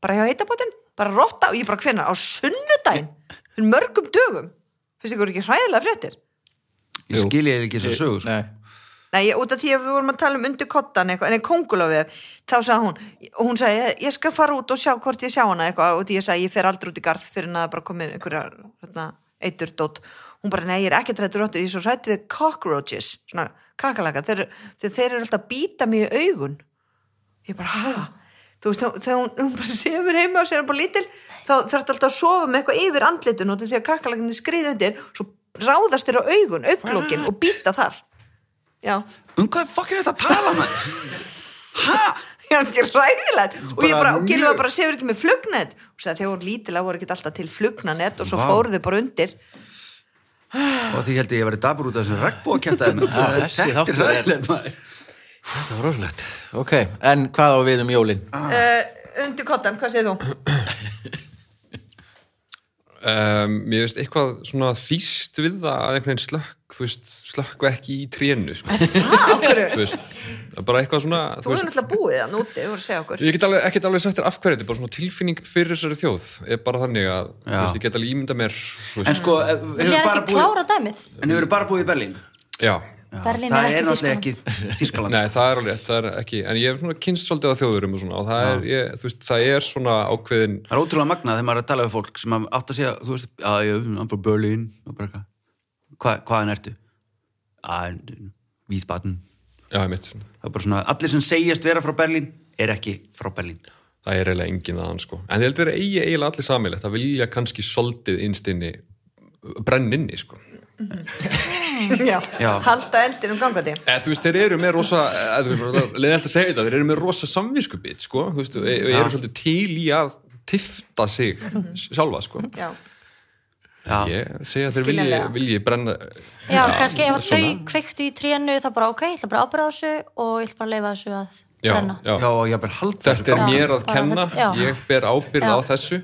bara hjá heitabótin bara rotta og ég bara hvenær á sunnudaginn fyrir mörgum dögum finnst ykkur ekki hræðilega fréttir
ég skilja þér ekki þessu sögu sko.
Nei.
Nei, ég, út af því að við vorum að tala um undir kottan eitthvað, en kongulofið, þá sagði hún og hún sagði, "Ég- ég skal fara út og sjá hvort ég sjá hana eitthvað, og því ég sagði, ég fer aldrei út í garð fyrir en að það bara komið einhverjar hérna, eitur dót, hún bara, nei, ég er ekkert rættur róttur, ég er svo rætt við cockroaches svona kakalaka, þeir, þeir, þeir eru alltaf að býta mig í augun ég bara, ha þú veist, þá- þegar hún, hún bara sefur heima og sér hún bara lítil, þá þarf alltaf að sofa með eitthvað yfir andlitun og því að kakalakinni skriði undir, svo ráðast þeir á augun, augnlókin og býta þar Já.
um hvað fokk er þetta að tala með
Já, hann skil ræðilegt og
Bara
ég bara, og Gylfi
mjög-
var bara sefur ekki með flugnet og sagði þegar hún lítilega voru ekki alltaf til flugnanett og svo
Vá.
fóru þau bara undir
og því held ég að ég verið dabur út af þessum regnbúa kættaði með
Já, þessi
þetta
þáttur
er
er-
ræðilegt maður
Það var rosalegt. Ok, en hvað á við um jólin?
uh, undir kottan, hvað segir þú?
um, ég veist eitthvað svona þýst við það að einhvern veginn slökk þú veist, slökk ekki í trénu sko.
Ha, af hverju?
þú veist, það er bara eitthvað svona
Þú hefur náttúrulega búið þann úti, þú voru að segja okkur
ég get alveg, ekkert alveg sagt þér af hverju þetta er bara svona tilfinning fyrir þessari þjóð er bara þannig að, þú
Já.
veist, ég get alveg ímynda mér þú
en
veist,
sko, ef-
Vil
hefur
ég
bara
ekki
búið
klára dæmið?
en hefur bara búið í Berlín
já,
Berlín
það er
er ekki
náttúrulega
Þýskaland.
ekki Þískaland
nei, það er alveg rétt, það er ekki, en ég hef svona kynst svolítið á þjóðurum og svona, og það er, ég, þú veist, það er svona ákveðin,
Það er ótrúlega magnað þegar maður er að tala við fólk sem að átt að segja, þú veist, að ég er frá Berlín og bara eitthvað. Hva, hvaðan ertu? Að, Vísbaden.
já, ég mitt
Það er bara svona, allir sem segjast vera frá Berlín er ekki frá Berlín.
það er eiginlega engin aðan, sko en ég held að það er eiginlega allir samilegt að vilja kannski svolítið innstinni brenninni, sko
Já.
Já.
Halda eldir um gangandi
Eða, Eh, þú veist, þeir eru með rosa eh, leðalt að segja þetta, þeir eru með rosa samvinskupið sko, þú veist, og e- og eru svolítið til í að tifta sig
Mhm.
sjálfa, sko
Já,
Já,
ég segja að þeir vilji,
Skiljanlega.
vilji brenna
Já, kannski ef að
svona.
þau kveiktu í trénu þá bara ok, ég ætla bara að ábyrða á þessu og ég ætla bara að leifa þessu að
já,
brenna.
já.
já og ég ber halda
þetta er
gangi.
mér að
bara
kenna
þetta- já.
ég ber ábyrð
Já. Mhm.
á þessu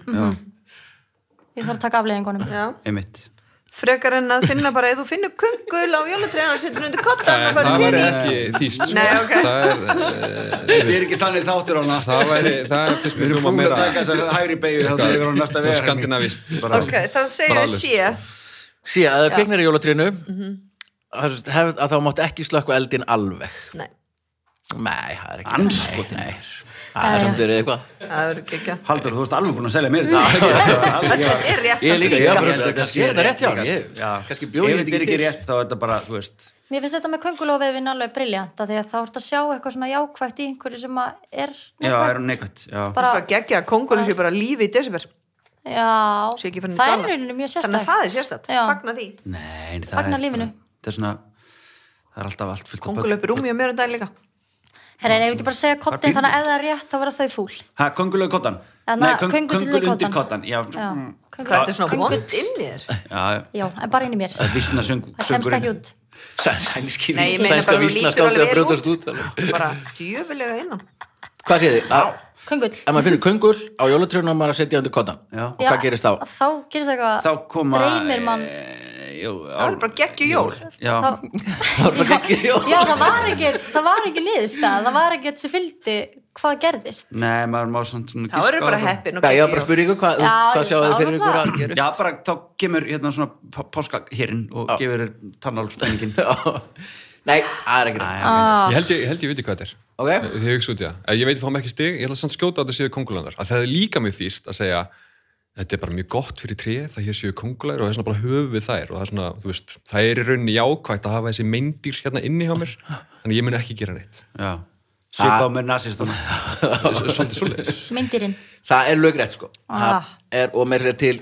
Ég þarf að taka afleiðingunum.
já
Einmitt.
Frekar en að finna bara, ef þú finnur kungul á jólatræðan og setur undir kottan
Nei,
og
Eh, það
farið
væri
til því
ekki þýst sko.
Nei, ok.
það er,
Þetta er ekki þannig þáttur á hana.
það væri, það er fyrst mér hljóma
Búin
meira
að taka þess að hægri beigju þá þegar hún næsta
Svo
vegar.
skandinavist
Ok, þá segjum við
Bragðlaust.
sé
Sé að það kviknar í jólatrínu að, hefð, að þá mátt ekki slökka eldin alveg.
Nei,
Nei, það er ekki.
Andskotin.
Nei, nei. Það er samt verið eitthvað.
það verður ekki ekki
Haldur, þú veist alveg búin að selja mér þetta.
Þetta er rétt
Ég
samt
líka,
líka.
ég bara- þetta sé þetta rétt hjá hann. Ég-
Já.
kannski bjó ég
Ef
þetta
þetta er
ekki
ekki
til.
rétt þá er þetta bara, þú veist,
Mér finnst þetta með köngulóvefin alveg briljant að því að þá ertu að sjá eitthvað svona jákvægt í einhverju sem að er
já,
neikvætt.
er hún neikvægt. Já.
bara,
bara geggja að kongulur sé bara lífi í desember
já,
sé ekki farin að
það er
dala.
reyninu mjög sérstætt
þannig að það er sérstætt,
Já.
fagna því
Nei, það
Fagna
er,
lífinu.
Það er svona, það er alltaf allt fyllt
kongulur upp í rúmi og mér um daginn líka
Herra, en ef ég ekki bara að segja
Bara
kottin
pínu.
þannig að ef það er rétt þá verða þau fúl
Ha, kongulur kottan?
Þarna,
Nei, köng,
köngull
kongulur
undir
undir
koddann.
kottan. Já,
Já.
Mm.
hvað er
Köngul-
þetta svona vond inn í þér?
já,
Já, en bara inn í mér
það er vissna söng,
Það kemst ekki
söngurinn.
út
Sæ- Sænski
Nei, ég
vísna-
meina
sænska
bara, þú lítur
vísnaskáldið að
alveg vel
brjótast út.
út.
alveg.
bara djöfulega innan
Hvað séð þið? Að-
Köngull.
ef maður finnur köngul á jólatrjónu og maður að setja undir kodda
Já.
og hvað gerist þá?
Þá gerist eitthvað,
þá koma
dreymir mann.
e, jú, á,
Það er bara geggju jól.
já,
Þá,
það er bara ekki jól
já, það var ekki, það var ekki niðurstað, það var ekki sem fylgdi hvað gerðist.
nei, maður má samt svona
þá eru
giska á
bara
það.
heppin og
Já, ég var bara að
geggju jól.
spyrja ykkur hvað,
Já,
hvað
ég
sjáðu þið
sá
fyrir ykkur
það.
að gerist
já, bara þá kemur hérna svona páskahirinn og
Já.
gefur tannálspenningin
Nei, það er ekki rétt
Ah.
Ég held ég, ég held ég viti hvað þetta er.
Ok,
Eh, Þið hugsa út í það. Ef Ég veit að fá mig ekki stig, ég ætla samt að skjóta á þetta séu kongulandar. Að það er líka mjög þýst að segja þetta er bara mjög gott fyrir tréð það hér séu kongulæður og það er svona bara höfuð við þær og það er svona, þú veist, það er í rauninni jákvætt að hafa þessi meindýr hérna inni hjá mér þannig ég mun ekki gera neitt.
já, svipa á mér nazistana
Það er Svolítið svolítið.
Myndirinn.
það er lögrætt sko
Ah.
Það er, Og mér er til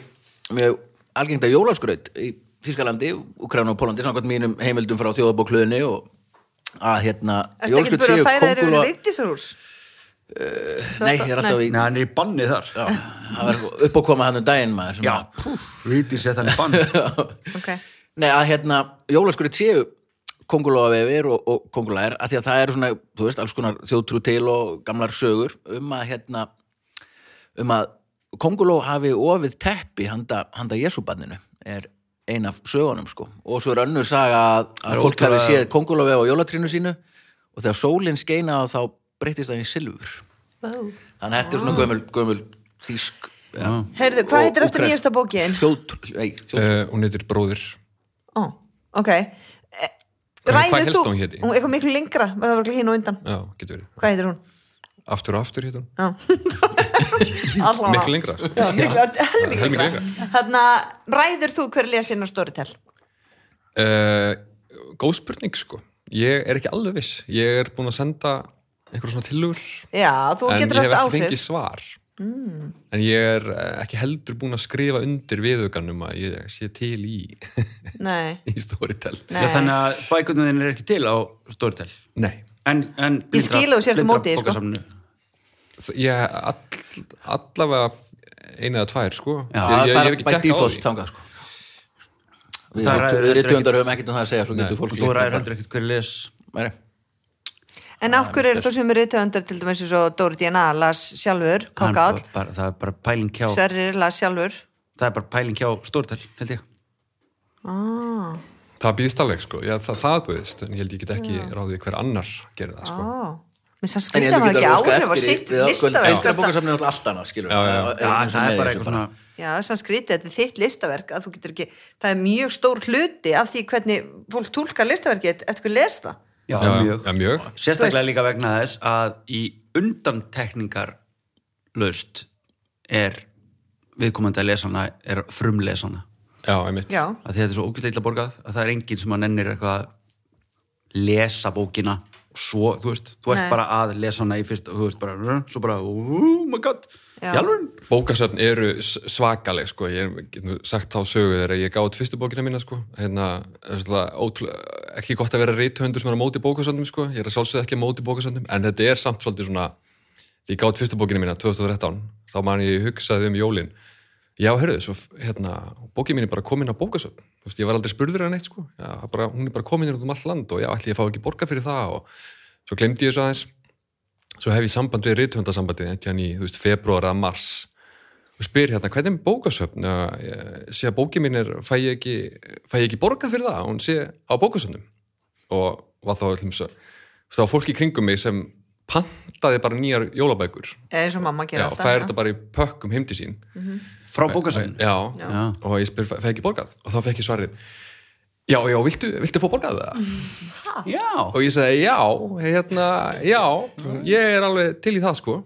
mjög algengta jólaskraut í Þískalandi, Ukræna og Pólandi samkvæmt mínum heimildum frá þjóðabóklöðinni og að hérna
Ertu ekki búin að færa þér yfir veikdísarúls?
Nei, ég er alltaf í
Nei, hann er í banni þar
Já, það var upp að koma hann um daginn maður sem
Já,
að-
viti sett hann í bann
Ok.
Nei, að hérna, jólaskurinn séu kongulóavefir og, og kongulæðir að því að það eru svona, þú veist, alls konar þjóðtrú til og gamlar sögur um að hérna, um að konguló hafi ofið teppi handa, handa jesúbanninu er ein af sögunum sko og svo er önnur saga að,
er
að fólk hafi
ótrúlega-
séð kongulóvefi á jólatrínu sínu og þegar sólinn skeina þá breytist það í silfur
Wow.
þannig að þetta er svona gömul, gömul þýsk ja.
Heyrðu, hvað heitir eftir nýjasta bókin?
Hljóðtrú, nei, þjóðtrú
Uh, hún heitir bróðir.
Ó, ok. Eh,
Hvað- hvað
Ræður
hélstu
þú?
hún héti?
Hún eitthvað miklu lengra, var það verður hinn og undan.
Já, getur verið.
Hvað heitir hún?
Aftur og aftur heitir hún.
Allá.
Miklu lengra. sko.
Já, miklu, helmingi
Helmingi
lengra.
lengra.
Þannig að ræður þú hver lesi inn á Storytel?
Uh, góð spurning sko. Ég er ekki alveg viss. Ég er búin að senda einhverja svona tillögur
Já, þú
en ég
getur
hef
haft
ekki fengið
áhrif. Mm.
svar en ég er eh, ekki heldur búin að skrifa undir viðaukanum að ég sé til í,
Nei,
í Storytel nei,
Já,
nei.
Þannig að bækundin þinn er ekki til á Storytel En, en
Ég skil að þú sért á móti því, sko.
Þ- ég all, allavega eina eða tvær sko
Já,
ég,
það
ég, ég hef
fara
ekki
by
tjekkað á
default
því
þangað sko.
Það
við
ræður
rithö- við
heldur
rithöfundar höfum ekkert um það að segja svo
Nei,
getur fólk
Og þú ræður heldur ekkert hver les
heldur
En af hverju er þú sem er reytöndar til dæmis eins og Dóri DNA las sjálfur,
Hann bara-
kokkáll,
bara- Það er bara pæling hjá
Sverri las sjálfur.
Það er bara pæling hjá Storytel, held ég
Ah,
það býðist alveg sko, já, það, það býðist en ég held ég get ekki ráðið hver annar gerði það sko
ah. Mér sann
En ég
skriði
held
hann
ekki
ekki
að óska
áhrif á
eftir í-
sitt
við
listaverk.
Íslenska
þetta-
bókasafnið er alltaf annað, skilur
Já, já.
Það er
Já,
eins og
það
með
er bara
þessu
eitthvað svona
Já, sann skriði þetta er þitt listaverk að þú getur ekki, það er mjög stór hluti af því hvernig fólk tólkar listaverkið eftir hverju les það.
Já,
Já,
mjög
já, mjög.
Sérstaklega líka vegna þess að í undantekningar löst er viðkomandi að lesana er frumlesana
já, einmitt
Já,
að því þetta er svo ógæslega illa borgað að það er enginn sem að nennir eitthvað að lesa bókina og svo, þú veist, þú ert
Nei.
bara að lesa hana í fyrst, þú veist, bara svo bara, oh my god,
Já.
jálfur
bókasöfn eru s- svakaleg sko. ég get nú sagt þá sögu þegar ég gáði fyrstu bókina mína sko. hérna, það er svona ótrúlega- ekki gott að vera reythöndur sem er á móti bókasöfnum sko. ég er að sjálfsögð ekki á móti bókasöfnum en þetta er samt svolítið svona ég gáði fyrstu bókina mína 2013 þá man ég hugsaði um jólin já, hörðu, svo hérna, bókin mín er bara komin á bókasöfn Þú veist, ég var aldrei spurður að neitt sko. já, það er bara, hún er bara komin út um allt land og já, ætli ég fá ekki borga fyrir það og svo glemdi ég svo aðeins svo hef ég samband við rithöndasambandið entjan í, þú veist, februar eða mars og spyr hérna, hvernig er með bókasöfn að sé að bókið mín er fæ ég ekki, fæ ég ekki borga fyrir það að hún sé á bókasöfnum og var þá allum svo þá var fólk í kringum mig sem pantaði bara nýjar jólabækur
eins og mamma
já,
gerir hérna.
og fær þetta bara í pökkum heim til sín
frá bókasöfn
já,
Mm. Já.
og ég spyr, fæ ég ekki borgað og þá fekk ég svarið já, já, viltu, viltu fá borgað það?
Já,
og ég sagði já, hérna, já ég er alveg til í það sko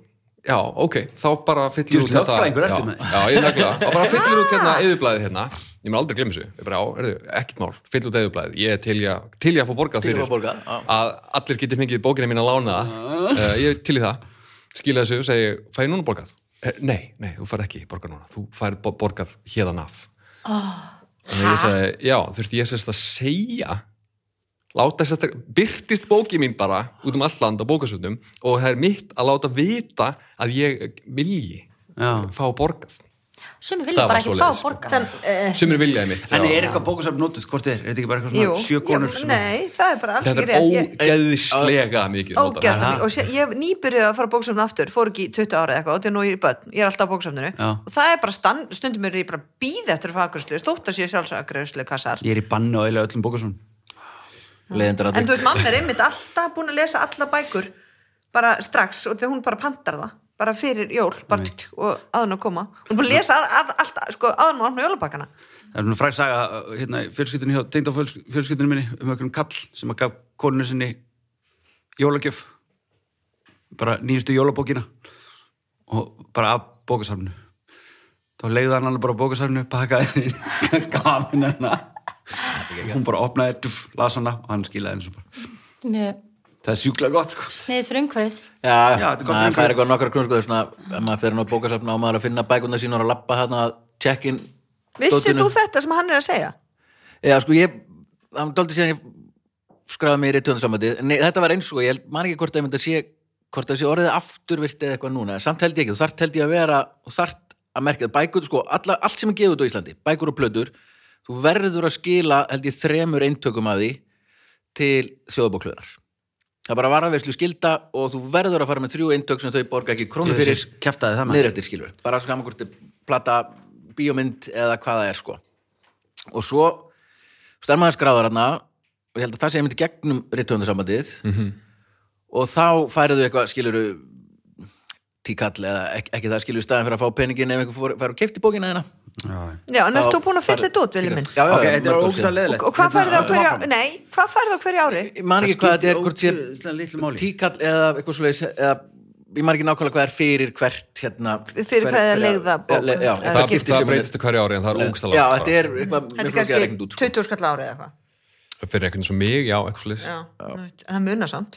já, ok, þá bara fyllir
Þú
hérna-
ert lögfræðingur
já,
eftir mig.
já, ég nagla, þá bara fyllir út hérna yðurblæðið hérna, ég mun aldrei glemma þessu ég bara, á, erðu, ekkert mál, fyllir út yðurblæðið ég er til í að, til í að fá borgað
Til í að
fyrir
fá borgað, já.
að allir geti fengið bókina mín að lána uh, ég er til í það, skila þessu segi, fæ ég núna borgað? Eh, Nei, nei, þú fær ekki borgað núna, þú fær bo- borgað hérðan af Þannig að ég sagði, já, þurfti ég sérst að segja láta sérst að byrtist bóki mín bara út um all land á bókasöndum og það er mitt að láta vita að ég vilji
Já.
fá borgað
Sumi
Það
vilja
var
bara ekki fá
svoleiðis.
borgað.
Þann, uh,
Sumir viljaði mitt.
En er eitthvað bókusafn notuð, hvort er? Er þetta ekki bara eitthvað
jú,
svona sjö konur?
já,
sem-
nei, það er bara alls ekki
Þetta er
rétt Ég-
ógeðslega mikið. notað.
ógeðslega
Aha.
mikið og sé, ég nýbyrjuði að fara á bóksöfn aftur fór ekki í 20 ára eða eitthvað og nú er ég börn, ég er alltaf á bóksöfninu
Já.
og það er bara stand, stundum er ég bara býð eftir að fá afgjörslu, stótt að sé sjálfsafgjörslu kassar
Ég er í banni á eiginlega öllum bókusafn.
leiðindar
en
að
þú veist, mamma er einmitt alltaf búin að lesa alla bækur bara strax og þegar hún bara pantar það bara fyrir jól, bara
Einmitt.
tkt, og áðun að koma hún er búin að lesa að, að, allt, sko, áðun að opna jólabakkana
Það er svona fræg saga, uh, hérna, fjölskyldinu hjá, tengd á fjölskyldinu minni um einhvern kall sem að gaf koninu sinni jólagjöf. Bara nýjustu jólabókina og bara af bókusafnu. Þá leiði hann alveg bara á bókusafnu, pakkaði henni, inn, gaf henni hennar. Hún bara opnaði, duf, las hana og hann skilaði henni svo bara.
Mjög
Það er sjúklega gott, sko.
sniðið fyrir umhverfið.
Já,
Já, þetta er gott
maður
fyrir
fær
umhverfið.
eitthvað nokkra krunskuður svona, ef maður fer hann á bókasafna og maður er að finna bækuna sín og að lappa hann að tjekkin
vissir þú þetta sem hann er að segja?
Já, sko, ég, það var daldið síðan ég skraði mér í tjóðansamvætið Nei, þetta var eins og ég held, maður ekki hvort að ég myndi að sé hvort að sé orðið afturvirt eða eitthvað núna samt held ég ekki, þú þart held ég að vera þú þart að merkja bækur, sko, alla, allt sem er gefið út á Íslandi, bækur og plötur þú verður að skila, held ég, þremur eintökum af því til þjóðabóklöðar Það er bara varaverslu skilda og þú verður að fara með þrjú eintök sem þau borga ekki krónu fyrir
kæftaði það með.
niður eftir skilur bara skama hvort er plata, bíómynd eða hvað það er sko og svo stærmaður skráður hana og ég held að það sé einmitt í gegnum ríttöfundarsambandið
Mhm.
-hmm. og þá færiðu eitthvað skiluru tíkall eða ekki, ekki það skilur staðan fyrir að fá peningin ef einhver fór, fær og keipti bókina þeirna
Já, já.
já, en
Þá
ert þú búin að fylla
færðu-
þetta út, viljum minn?
já, já,
Ok,
já,
þetta er
mörg ár
ógæðslega
síðan.
leðilegt.
og, og hvað færðu á hverju ári? nei, hvað færðu á hverju ári?
ég man ekki
Það
hvað þetta er
skiptir
hvort sé
ógeðslega litlu máli.
tíkall eða eitthvað svoleiðis eða ég man ekki nákvæmlega hvað er fyrir hvert hérna
Fyrir
hver-
hvað er
hverja-
leigða
Já,
bók?
já,
Það
það
Það,
skiptir
það
sem er-
breytist hverju ári en það er ógeðslega
Já,
langt
þetta
frá.
er eitthvað mjög
þetta er
flókið að
kannski
reikna út sko.
20 skall ári eða eitthvað
Fyrir einhvern sem mig, já, eitthvað slis.
Já, en það munar samt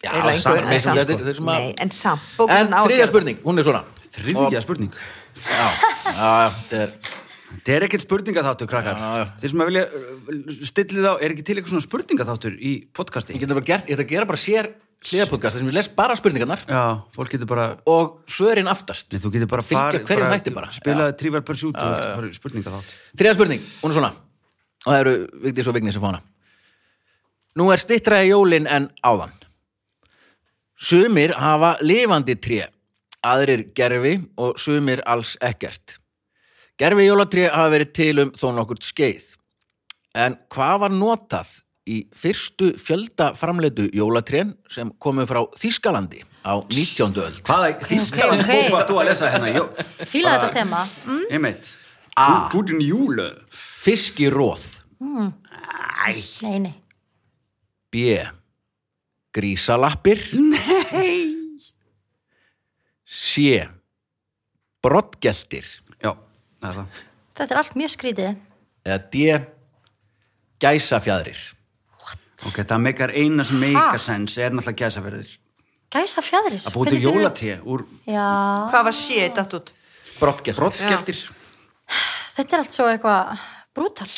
Já,
Eiginlega
samt-
engu, en
samt-
samt. sko.
þetta er svona-
Nei, en samt
En
bókin á
þriðja
ákjörð.
spurning, hún er svona
Þriðja spurning.
Já, já, þetta er
Þetta er ekkert spurningaþáttur, krakkar.
Já, já.
Þeir sem að vilja uh, stilla þá, er ekki til eitthvað svona spurningaþáttur í podcasti?
Ég geta bara gert, ég ætla að gera bara sér hliðapodcast þar sem ég les bara spurningarnar
Já, fólk getur bara...
og svörin aftast
Nei, þú getur bara
Fylgja
farið-
hverjum hætti bara.
Spilaði Trivial Pursuit og þetta farið spurningaþátt.
Þriðja spurning, hún er svona og það eru Vigdís og Vignis sem fá hana Nú er stittraði jólin en áðan Sumir hafa lifandi tré aðrir gerfi og sumir alls ekkert Gerfi jólatré hafa verið til um þó nokkurt skeið En hvað var notað í fyrstu fjöldaframleitu jólatrén sem komu frá Þýskalandi á 19. öld?
Hvaða þýskalands
ok.
bók varst þú að lesa hérna? Jó,
Fýla þetta þema.
Mm? Ég meitt.
Ah.
Gúdin Júlu.
Fiskiróð
Æ,
Nei, nei.
B. Grísalappir Nei C. Brottgeltir
já, það er það.
Þetta er allt mjög skrítið.
eða D. Gæsafjadrir
Ok, það meikar eina sem meikar sens er náttúrulega gæsaverðir.
Gæsa fjæðrir.
Að búið til jólatré úr
Já,
Hvað var shit datt út?
Brottgeltir
brottgeftir.
þetta er allt svo eitthvað brútal.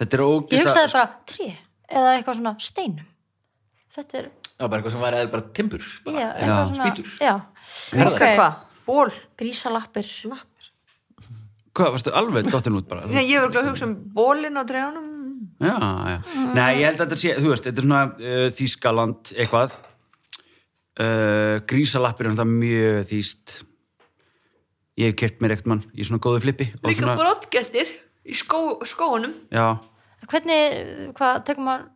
Þetta er
Ég
ógæsta
hugsaði bara tré eða eitthvað svona steinum. Þetta er,
Það var bara eitthvað sem var eða bara timbur bara.
já, eitthvað
já,
svona.
spýtur.
Já,
Herðar.
Okay. Hvað? Ból?
grísalappir.
Hvað, varstu alveg dottin út bara?
Nei, ég var glæð að hugsa um bólin á trjánum
Já, já. Nei, ég held að þetta sé, þú veist, þetta er svona uh, Þískaland eitthvað. Uh, grísalappir er náttúrulega mjög þýst. Ég hef kert mér eitt mann í svona góðu flippi. og
Líka
svona,
brottgeltir í skó, skóunum
Já,
Hvernig, hvað, tekur maður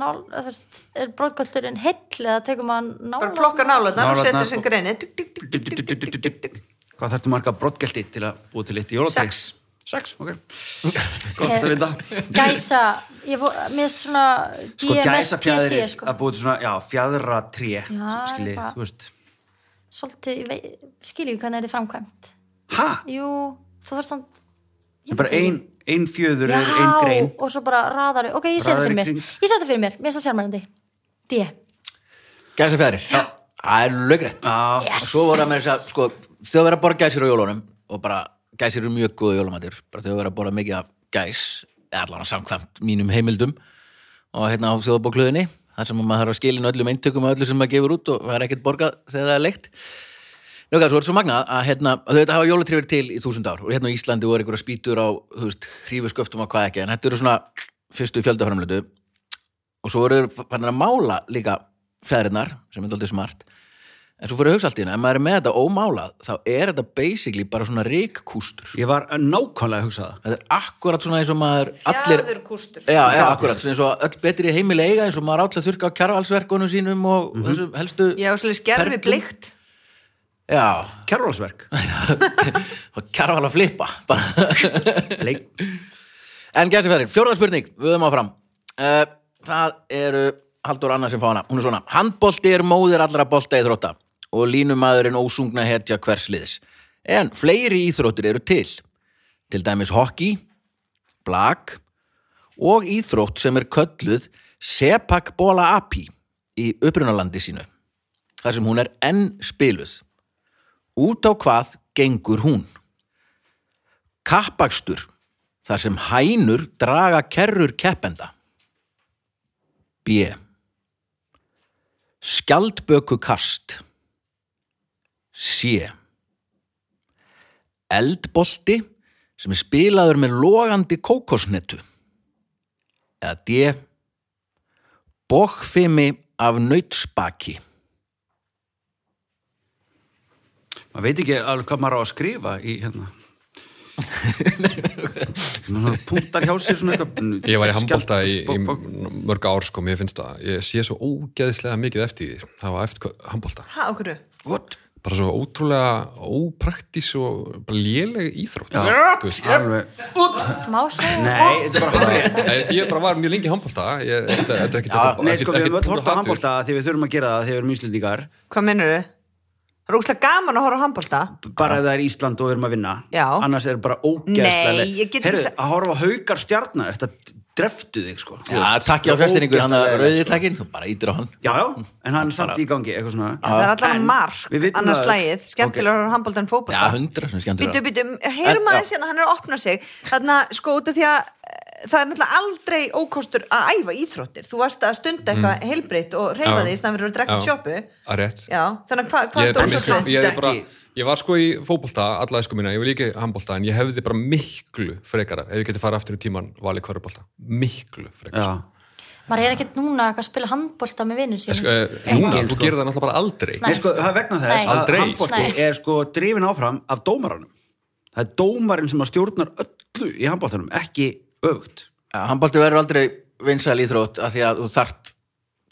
nál, eða þú veist, er bróðgöldurinn heill eða tekur maður nála?
Bara plokka nálarnar og setja
Nálarnar
sem
og-
greini Duk, duk, duk, duk, duk, duk, duk, duk.
Hvað þarftu marga brottgelti til að búið til eitt í jólatri?
Sex.
Sex, ok. Gott að vita.
Gæsa, ég fó, miðst svona
Sko gæsa fjæðri
DMSGC, sko.
að búið til svona, já, fjæðratré,
Já,
skiljið,
eitthvað.
þú veist.
Svolítið, ég vei- skil ég hvernig er þið framkvæmt.
Ha?
Jú, þú þarfst samt
Það er bara ein, ein fjöður
Já,
er ein grein.
og svo bara raðar Ok, ég sé þetta
Raðar í
fyrir mér
kring.
Ég sé þetta fyrir mér, mér er það sjármærandi D,
Gæsafjadrir Það er lögrætt
Já,
yes. Svo voru það með þess að sko, þau verið að borða gæsir á jólunum og bara gæsir eru mjög góðu jólumatir bara þau verið að borða mikið af gæs eða allan samkvæmt mínum heimildum og hérna á þjóðbókluðinni þar sem maður þarf að skilin öllum eintökum og öllu sem maður gefur út og það er ekkert borgað þegar það er leikt Nú, hvað, svo er þetta svo magnað að hérna, þau þetta hafa jólatré verið til í þúsund ár og hérna á Íslandi voru einhverja spýtur á, þú veist, hrífusköftum og hvað ekki, en þetta eru svona fyrstu fjöldaframlötu og svo voru þeir fannin að mála líka feðrinar, sem er aldrei smart, en svo fyrir hugsa allt í hérna, ef maður er með þetta ómálað, þá er þetta basically bara svona ríkkústur.
Ég var nákvæmlega að hugsa það.
Þetta er akkurat svona eins og maður allir...
Hjaður kústur
Já, já, akkurat, svona eins og öll betri heimili eiga eins og maður átla að þurrka á kjarvalsverkunum sínum og þessum helstu
Já, svolítið skerfi
Perlum.
blikt
Já,
Kjærvalsverk.
og kjarval að flippa bara.
Leik.
En gæsi fyrir, fjórða spurning, við höfum áfram uh, Það eru Haldur Anna sem fá hana, hún er svona Handbolti er móðir allra bolta í þrótta og línumadurinn ósungna hetja hvers liðs En fleiri íþróttir eru til Til dæmis hockey, blag og íþrótt sem er kölluð Sepak Bola Api í upprunalandi sínu þar sem hún er enn spiluð Út á hvað gengur hún? Kappakstur, þar sem hænur draga kerrur keppenda. B. Skjaldbökukast. C. Eldbolti sem er spilaður með logandi kókosnetu. Eða D. Bókfimi af nautspaki.
Maður veit ekki alveg hvað maður á að skrifa í hérna. Svona Punktar hjá sér svona eitthvað.
Ég var í handbólta í,
Skjald- bók, bók.
í mörg ár sko, mér finnst það ég sé svo ógeðislega mikið eftir því það var eftir handbólta
Hæ, okkur
What?
bara svo ótrúlega ópraktís og bara léleg íþrótt Þú veist,
Alveg.
Má segja
Nei, þetta er bara hárið.
Ég- ég bara var mjög lengi í handbólta ég- þetta þetta er ekkert
Nei, sko, við höfum öll hort á
hatur.
handbólta því við þurfum að gera það þegar við erum íslendingar
Hvað minnur þau? Það er úkslega gaman að horfa á handbólta
bara ef það er Ísland og við erum að vinna
Já.
annars er bara ógeðslega
Nei,
leið.
ég get ekki
Heyrðu,
sa-
að horfa á haukar stjarnar þetta dreftu þig sko Þú
Já,
veist,
takk ég á
þetta er
fjárstyrningur, hann að
ógeðslega leið,
rauði
sko.
takkin, þú bara ítir á hann.
Já, já, en hann er samt í gangi eitthvað svona
Það er allavega
En
mark,
við vitum
annars
að-
slægið Skemmtilega að
Ok.
horfa á handbólta en
Já,
fótbolta
hundra sem
Býtu,
skemmtilega.
býtu, heyrum
En-
aðeins
já.
hérna, hann er að opna sig Þannig að sko út af því að eh, það er náttúrulega aldrei ókostur að æfa íþróttir Þú varst að stunda eitthvað mm. heilbreytt og reyfa
Já.
þig í staðan fyrir að drekka
Já.
sjoppu
Að Ah, rétt.
Já, þannig að hvað hva
ég, er bara
dómsar
miklu,
það?
ég, er
Samt
bara,
ekki.
ég var sko í fótbolta alla æsku mína, ég var líka í handbolta en ég hefði bara miklu frekara ef ég geti farið aftur í tíman valið kvörubolta miklu
Já,
frekara
Maður er ekkert núna eitthvað að spila handbólta með vinnu
Sko,
sínum
eh, Núna,
Engin,
þú
sko.
gerir það náttúrulega bara aldrei
Nei.
Nei, sko, það er vegna
Nei.
þess að
Aldrei.
handbólti
Nei.
er sko drifin áfram af dómaranum það er dómarinn sem að stjórnar öllu í handbóltanum, ekki öfugt
Handbólti verður aldrei vinsæl íþrótt af því að þú þart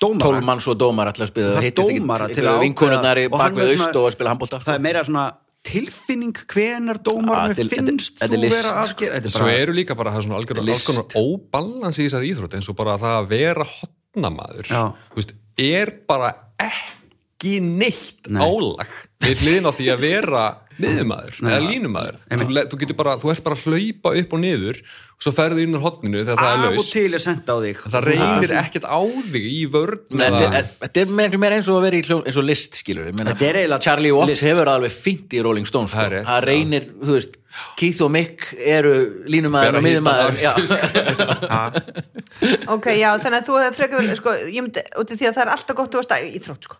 Dómarar.
12 manns og dómar allar að spila
Það er
það hittist
dómara
ekki
til að
vinkonurnar í
ákveða- og hann
bak við
er svona-
aust og að spila sko. handbólta
það
sko.
er meira svona tilfinning hvenar dómarinu
Ah, til-
finnst
þetta- þetta er
þú
list,
vera að gera þetta er
svo
bara-
eru líka bara það er svona algjör, alls
List.
konar óbalans í þessari íþrótt eins og bara það að vera hotnamaður
Já.
þú veist, er bara ekki neitt
Nei.
álag við hliðin á því að vera miðumadur eða línumadur þú, le- þú, getur bara, þú ert bara að hlaupa upp og niður og svo ferðu inn úr hotninu þegar það er
af og
laust
til er sendt á þig
það reynir ekkert á þig í vörn
Þetta
eða-
er- þetta er meira meira eins og að vera í hljó, eins og list skilur Menna,
Þetta er eiginlega
Charlie Watts
list.
hefur alveg fint í Rolling Stones sko.
Það er rétt,
það reynir, þú veist, Keith og Mick eru línumæður
Bera
og miðumæður
hitamæður,
Já.
Ok, já, þannig að þú hefur frekar vel, sko, ég myndi, út af því að það er alltaf gott þú varst að íþrótt, sko.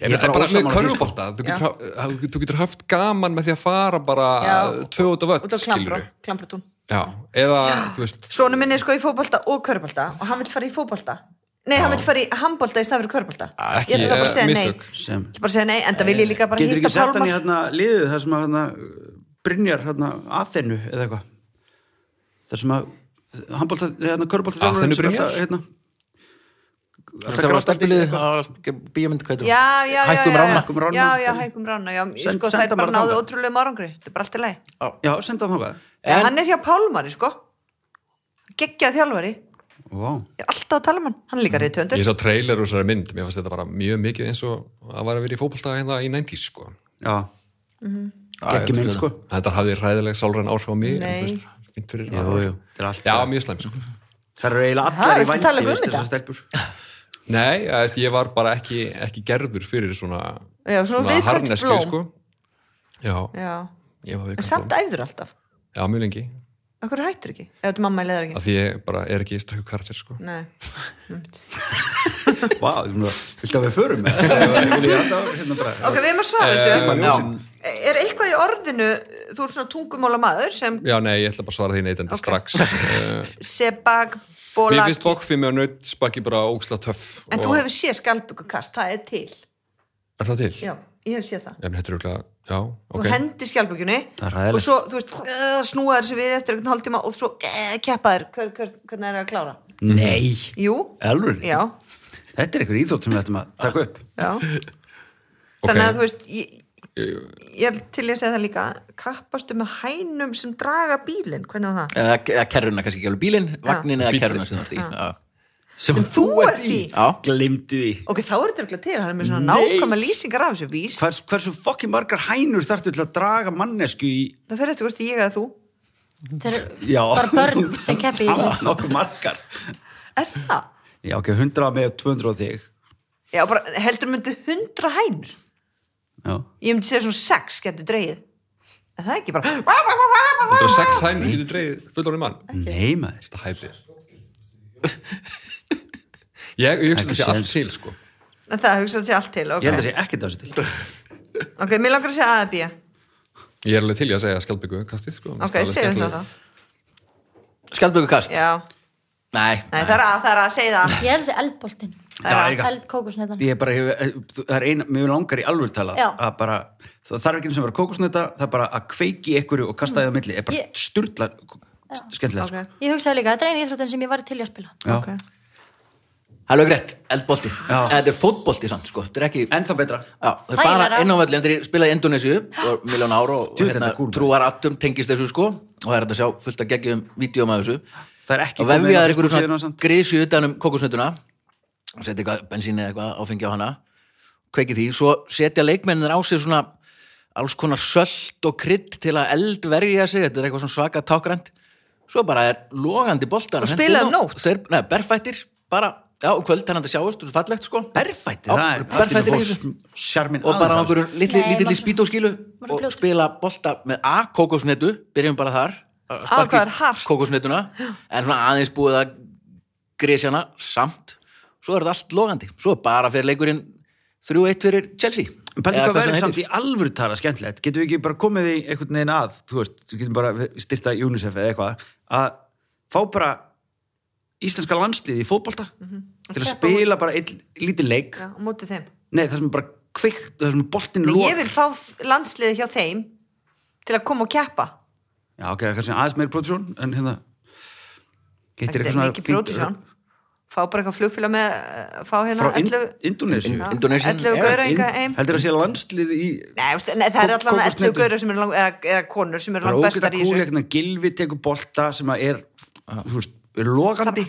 Ég
er bara
bara, bara með
ósammála því, sko.
körfubolta þú getur, haf- þú getur haft gaman með því að fara bara
Já.
tvö út af
Út
öll
af klambra,
skilur
klambratún.
Já, eða þú veist
Sónu minni er sko í fótbolta og körbolta og hann vil fara í fótbolta. Nei, hann vil fara í handbolta í staðan fyrir körbolta.
Ekki,
ég ætla bara
eh,
að segja nei.
mistök.
Ég
sem
ætla bara að segja nei, enda vil ég líka bara
getur
hitta
ekki sett hann í
pálmar.
hérna liðið þar sem að hérna Brynjar hérna Aþenu eða eitthvað þar sem að handbólta, hérna körbólta
Aþenu Brynjar?
hérna
Það var stelpuliðið, það var bíómynd hvað heitir hún?
Já, já, já.
Hækkum
já, já.
rána
Hækkum rána.
Já, já, hækkum rána, já.
Send-
sko, það
senda
er bara
bara
náðu
þangað.
ótrúlega marangri. Þetta er bara allt í lagi.
já, senda hann þókað
En...
En-
Hann er hjá pálmari, sko. Geggjað þjálfari.
wow.
Ég er alltaf að tala um hann. Hann er líka reyðtöndur.
Ég sá trailer úr þessari mynd, mér fannst þetta bara mjög mikið eins og að vera að vera í fótbolta hérna í 90s sko.
já,
Já,
Mm-hmm. geggjum
ég
minn sko
Þetta hafði ræðileg sálræn áhrif á mig en,
Nei.
þú veist, fínt fyrir
Jú,
aðra.
jú, þetta er allt
Já,
bara-
mjög slæm sko.
það eru eiginlega
Ha,
allar í
viltu tala um
vandi veist,
þetta?
þessar stelpur
Nei, ég, veist, ég var bara ekki, ekki gerður fyrir svona,
Já, svona viðkvæmt blóm.
sko. Já,
Já.
ég var
En
viðkvæmt
samt
blóm
æfður alltaf.
Já, mjög lengi
Akkur hættur ekki? Ef þetta mamma leðar ekki?
að því ég bara er ekki strækku karakter sko.
Nei.
Vá, wow, viltu að við förum með þetta? Hérna bara-
Ok, við erum að svara
Eh,
þessu.
Tímann, ljósin.
Er eitthvað í orðinu, þú ert svona tungumála maður sem
Já, nei, ég ætla bara að svara því neitandi
Ok.
strax. Uh,
sebag,
mér
bólaki.
finnst bókfimi og nautspaki bara óksla töff.
En
og-
þú hefur séð skjálpukukast, það er til.
Er það til?
Já, ég hef séð það.
Ég meni, þetta er auðvitað, já,
Þú
ok.
hendi skjálpukunni
Það er hræðilegt.
og svo, þú veist, uh, snúa þessu við eftir einhvern hálftíma og svo uh, keppa þér, hver, hver, hvernig er það að klára?
Nei,
Jú,
elvur
já,
Þetta er einhver íþrótt sem við ættum að taka upp
já.
Ok.
Þannig að þú veist, ég,
Ég-
ég er til ég að segja það líka, kappastu með hænum sem draga bílinn, hvernig var það?
eða, eða kerruna, kannski ekki alveg bílinn, vagnin eða
Bíllinn.
kerruna sem þú ert í Já.
Sem,
þú ert í.
Já.
Glimti því
Ok, þá er þetta eitthvað til, hann er með svona
Nei.
nákvæma lýsingar af þessu vís.
Hvers, Hversu fokkin margar hænur þarftu til að draga mannesku í
Það fer eftir hvort ég eða þú.
Þeir eru
Já,
bara börn sem keppi í þessu.
Nokkuð margar
Er það?
Já, ok, 100 með 200 á þig
Já, bara heldur myndi hundra hænur.
Já,
Ég myndi segja svona sex getur dreigið. En það er ekki bara...
106 hænur getur dreigð fullorinn mann.
nei maður
Þetta hæpi. Ég, ég hugsa
Ekki
þetta sé allt
séns.
til, sko.
En það hugsaði sér allt til, ok.
Ég held að sé ekkert af þessu til
Ok, mér langar að segja A eða B.
Ég er alveg til í að segja skjaldbyggu kastið, sko. Mér
Ok,
finnst alveg
segjum
skemmtilegt.
það þá.
Skjaldbökukast?
Já,
Nei,
nei, það er A, það er A, segja það.
Ég held þessi eldboltinn.
Það er
Já,
A.
ég- líka.
Eld hérna. kókusneiðan.
Ég er bara, ég, það er eina, mér langar í alveg tala
Já.
að bara, það þarf ekki eins og vera kókusnöta það er bara að kveiki ykkur og kasta þið á milli er bara
Mm. Ég-
ég... styrla skemmtilega
Ok,
Ég hugsaði líka, þetta er einu íþróttin sem ég var til í að spila.
sko. Já.
ok.
það er lög rétt, eldbolti
Já.
En Þetta er fótbolti samt, sko, þetta er ekki
En það betra
Já, þau
Þægilegra.
fara inn á völlin, þeir spilaði í Indonésiu og miljón ára og, og
Djú, þetta
hérna
er cool, maður.
trúar atum tengist þessu sko og það er hægt að sjá fullt að geggjum vídjum af þessu
Það er ekki
og vefja þær
Facebook
einhverju
síðuna
svona
samt.
grísu utan um kókusnötuna og setja eitthvað bensín eða eitthvað áfengi á hana kveiki því, svo setja leikmennir á sig svona alls konar söllt og krydd til að eldverja sig þetta er eitthvað svona svaka tákrænt svo bara er logandi boltan
Og spilaðu nótt.
þeir, nei, berfættir, bara já, um kvöld þannig að þetta sjáist, þetta er fallegt sko
Berfættir,
Já,
það er
berfættir í
fólk Sjarmin
og bara á einhverju litli,
Nei,
litli
maður-
spítóskílu
maður er
og
fljótur.
spila bolta með A kókosnetu, byrjum bara þar að sparka í
hvað er hart.
kókosnetuna en svona aðeins búið að grísjana samt, svo er þetta allt logandi svo er bara fyrir leikurinn 3-1 fyrir Chelsea
Pældi
Eða
hvað
hvað sem
verður
heitir.
samt í alvöru tala skemmtilegt getum við ekki bara komið í einhvern veginn að þú veist, við getum bara styrta UNICEF eða eitthvað að fá bara íslenska landslið í fótbolta
Mhm.
til að
Keppa á
spila bara einn lítið leik
Já, og mótið þeim.
nei, það sem er bara kveikt það sem er boltin
Nú,
lók
Ég vil fá landsliði hjá þeim til að koma og keppa.
Já, ok, kannski aðeins meir pródusjón en hérna
Það
getur
er mikið pródusjón. Fá bara eitthvað flugfélag með, eh, fá hérna
frá Ind
11
Indonési
Já. Indonesian
ellefu
Air.
gaura enga heim.
heldur að sé landslið í
Nei, veist, nei, það er
Kó-
allan
kókosnetur.
11 gaura sem eru lang, eða, eða konur sem eru
bara
langt
ógæta
bestar í
kúli
þessu.
hérna gilvi tekur bolta sem að er, þú veist, er logandi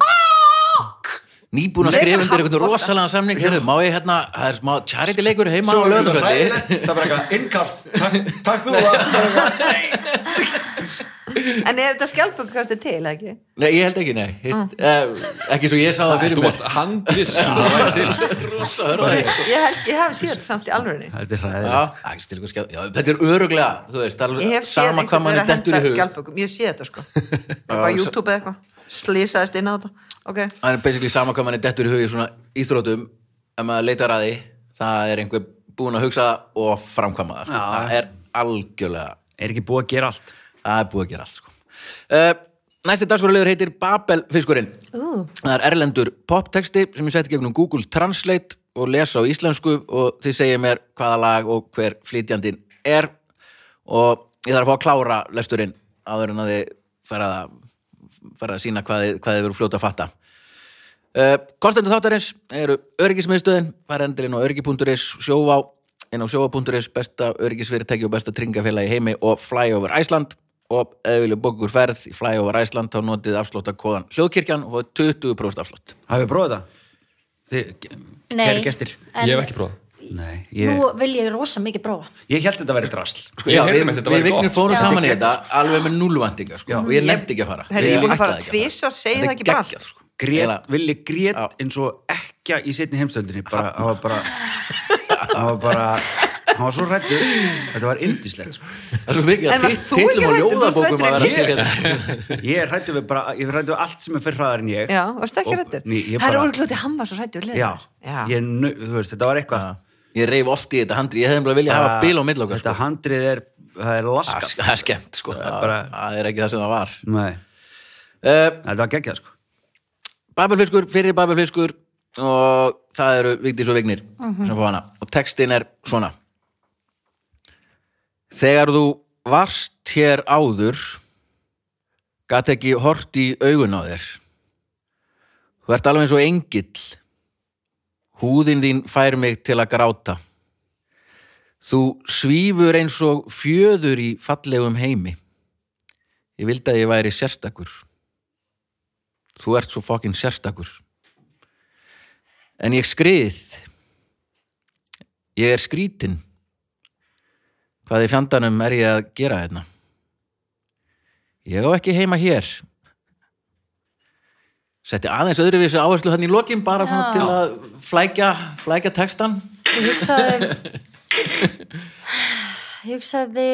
nýbúin að
Leikar
skrifa undir einhvern
handbolta.
rosalega samning Heyrðu, má ég hérna, það er smá charity leikur heima á lögðarsvöldi
það var eitthvað innkast takk, takk þú að hérna.
En er þetta skjálpukukast til, eða ekki?
nei, ég held ekki, nei
Mm.
Hitt, eh, ekki svo ég sá það fyrir
Þú
mér
varst handviss um að það væri til, sko.
Ég, held, ég hef séð þetta samt í alvörinni.
þetta er
Já,
ræðilegt
það er ekki stilgur skjálf Já, þetta er öruglega, þú veist, það
Ég
er
hef séð
sama hvað
einhvern
mann
vera
er
að
dettur í
henda
hug
skjálpökum, ég hef séð þetta sko bara
Já,
YouTube eða eitthvað, slýsaðist inn á þetta ok,
Það er basically sama hvað mann er dettur í hugi svona íþrótum ef maður leitar að því það er einhver búin að hugsa það og framkvæma það sko.
Já.
það er algjörlega
er ekki búið að gera allt
það er búið að gera allt sko. uh, Næsti dagskorulegur heitir Babelfiskurinn
Ú.
Það er erlendur poptexti sem ég seti gegnum Google Translate og lesa á íslensku og þið segir mér hvaða lag og hver flytjandinn er og ég þarf að fá að klára lesturinn áður en að þið fara að, fara að sína hvað, þið- hvað þið veru fljóta að fatta uh, Kostendur þáttarins eru öryggismiðstöðin farendilinn á öryggi.is, sjóvá inn á sjóvá.is, besta öryggisfyrirtæki og besta tryggingafélagi í heimi og Flyover Iceland og ef við viljum bókur ferð í Flyover Iceland þá notið afslóta kóðan hljóðkirkjan og fáið 20% afslótt
hafið þið prófað það? þið,
Nei.
kæri gestir
En-
Ég hef ekki prófað.
nei, ég,
Nú vil ég rosa mikið prófa.
ég held þetta að vera drasl
Sko, ég heyrði
við,
mitt, þetta
við
væri gott,
vignum
sko.
fórum
Já.
saman í þetta alveg með núlvandinga sko. og ég nefndi ekki að fara
Herri, ég er búin að fara
ætlaði ekki
tvisvar, segi
Þetta
það ekki bara
er geggjað,
allt.
sko.
grét,
Eiginlega-
villi grét
Já.
eins og ekki í setni heimstöldinni bara, það var bara það var bara hann var svo rættur þetta var indislegt sko.
Það er svo mikið
En
að
varst þú ekki
tillum á
hræddur? Þú varst
ljóðabókum að
hræddur
vera
en
til hérna.
ég er rættur við bara ég er rættur við allt sem er fyrir hraðar en ég
Já, varstu ekki
Og-
rættur?
Ný, ég
Það er
bara-
úrklúti, hann var svo rættur
já,
já.
Ég, nau- þú veist, þetta var eitthvað
Ég reif oft í þetta handri, ég hefði bara viljað hafa bíl á milli okkar
þetta
sko.
handrið er, það er
Það
laskað
það er skemmt sko,
Það er bara-
það er ekki það sem það var
Nei,
uh,
þetta var geggjað sko
Babelfiskur, fyrir Babelfiskur og það eru Vigdís og Vignir sem fá hana og textin er svona Þegar þú varst hér áður gat ekki hort í augun á þér Þú ert alveg eins og engill Húðin þín fær mig til að gráta Þú svífur eins og fjöður í fallegum heimi Ég vildi að ég væri sérstakur þú ert svo fokkin sérstakur en ég skrið ég er skrítin hvað í fjandanum er ég að gera þetta ég á ekki heima hér setti aðeins öðruvísi áherslu þannig í lokin bara svona
Já.
til að flækja, flækja textan
Ég hugsaði Ég hugsaði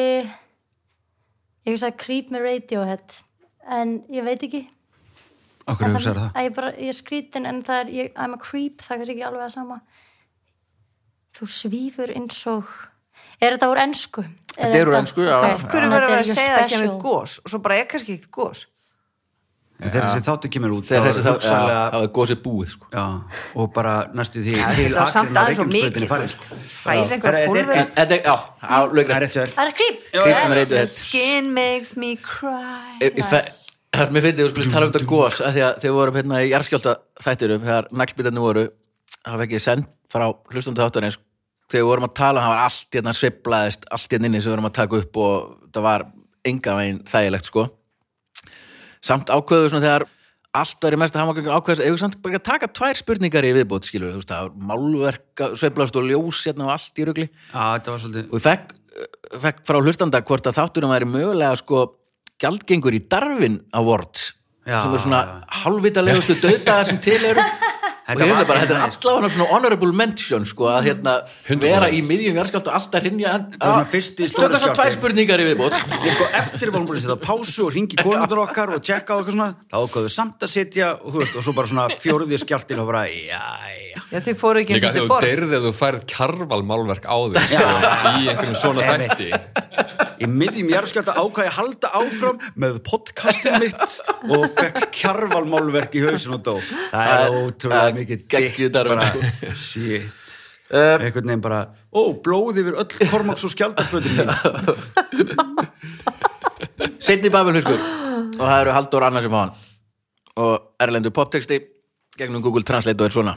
Ég hugsaði Creed með Radiohead En ég veit ekki
Okkur hefur sér það
að ég, bara, ég er skrítin en það er ég, I'm a creep, það er kannski ekki alveg að sama Þú svífur eins og Er þetta úr ennsku?
Þetta er úr ensku, já.
Af hverju verður að vera að segja það kemur gós og svo bara er kannski ekkert gós
Þegar þessi þáttu kemur út
þegar
þá
þessi
er
þá, já,
hugsanlega-
þá er gósið búið sko.
Já, og bara næstu því
Það var samt
Akureyrar og
aðeins og mikið
Reykjanesbrautinni
þú
farið,
veist.
sko.
Ræð
Þetta er-
einhver hólfur
en þetta, já, á
Það er
lögrætt
rétt hjá þér
Það er creep
Creep með Radiohead.
Skin makes me cry
Ég- ég fe-
Nice.
Það er mér fyndið, við skulum tala um þetta gos af því að þegar við vorum hérna í jarðskjálta þættirum þegar naglbítarnir voru það var ekki send frá hlustundu þáttarins þegar við vorum að tala, það var allt hérna sveiflaðist, allt hérna inni sem við vorum að taka upp og það var enga veginn þægilegt sko samt ákveðu svona þegar allt var í mesta hamagangur ákveðast eða samt bara að taka tvær spurningar í viðbót skilur, þú veist, það var málverka sveiflaðist og ljós hérna og allt í rugli
Já, þetta var svolítið
og ég fekk, fekk frá hlustanda hvort að þátturum væri mögulega sko gjaldgengur í Darwin Awards
Já,
sem er svona
já,
halvvitalegustu döðdagar sem til eru og ég hefði bara, þetta er allavega svona honorable mention sko að hérna vera í miðjum jarðskjált og alltaf hrinja
Það var svona fyrsti stóri
Tökast á tvær
skjálftinn.
spurningar í viðbót
Ég sko eftir vorum búin að setja pásu og ringi konundur okkar og tjekka og eitthvað svona þá ákvaðu samt að setja og þú veist og svo bara svona fjóruði skjáltin og bara jæja
Já, þið fóru ekki
Líka
eins og til
þegar þú
borð
deyrið eða þú færð karval málverk á þig sko, í einhverjum svona
Einmitt.
þætti
í miðjum jarðskjálta ákvaði að halda áfram með podcastin mitt og fekk kjarvalmálverk í hausin og dó það er
Það er- það er
ótrúlega mikið
geggjuð darfin, sko.
bara shit
Um,
einhvern veginn bara, ó, blóð yfir öll kormaks og skjaldafötum mín
Setni Babelfiskur og það eru Halldór Anna sem fá hann og erlendur poptexti gegnum Google Translate og er svona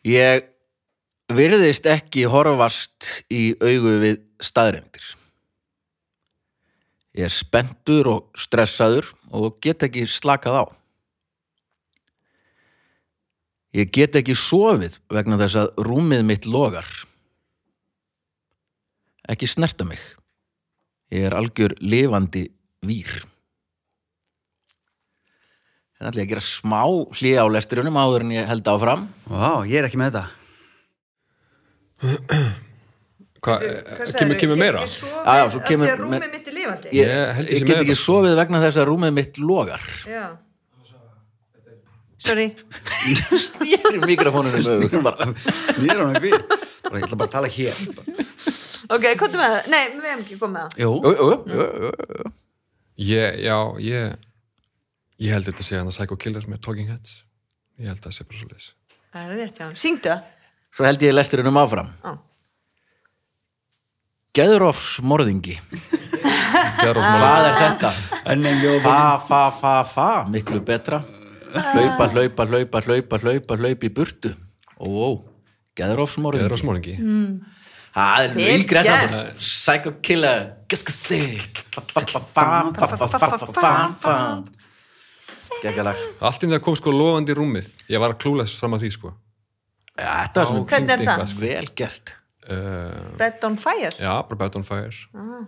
Ég virðist ekki horfast í augu við staðrendir Ég er spenntur og stressaður og get ekki slakað á Ég get ekki sofið vegna þess að rúmið mitt logar ekki snerta mig Ég er algjör lifandi vír. Það er allir að gera smá hlið á lesturunum áður en ég held áfram.
Vá, ég er ekki með þetta
Hvað, eh, kemur, kemur meira?
Já, já, svo kemur-
Rúmið mitt er lifandi
Ég,
Ég held ég sé
ég get
með
ekki
þetta.
sofið vegna þess að rúmið mitt logar.
Já Sorry
Snýri mikrofónunum öfugt bara.
Snýður hann ekki við Bara, Ég ætla bara að tala hér
Ok, komdu með það Nei, við hefum ekki komið með það
Jú,
Jú, jú, jú, jú.
Ég, já, ég ég held þetta sé hann að Psycho Killers með Talking Heads ég held það sé bara svo leis
Það er rétt hjá hann Syngdu það
Svo held ég lesturunum áfram.
Já.
Geðurofs morðingi.
Gerosmála,
Hvað er þetta?
ennum ljóð
Fa, fa, fa, fa. Miklu betra. Hlaupa, hlaupa, hlaupa, hlaupa, hlaupa, hlaupa í burtu. Ó, ó. Geðurofs morðingi.
gerosmálingi
Það er
Vel
vilgrætt
gert.
að Psycho Killer Giska sig Gækjalag
Allt inn það kom sko lofandi í rúmið Ég var að klúles fram að því sko
Þetta var svona
Hvernig er
Kynnti
það?
eitthvað, sko.
vel gert
Uh,
Bed on fire
Já, bara Bad on Fire
um,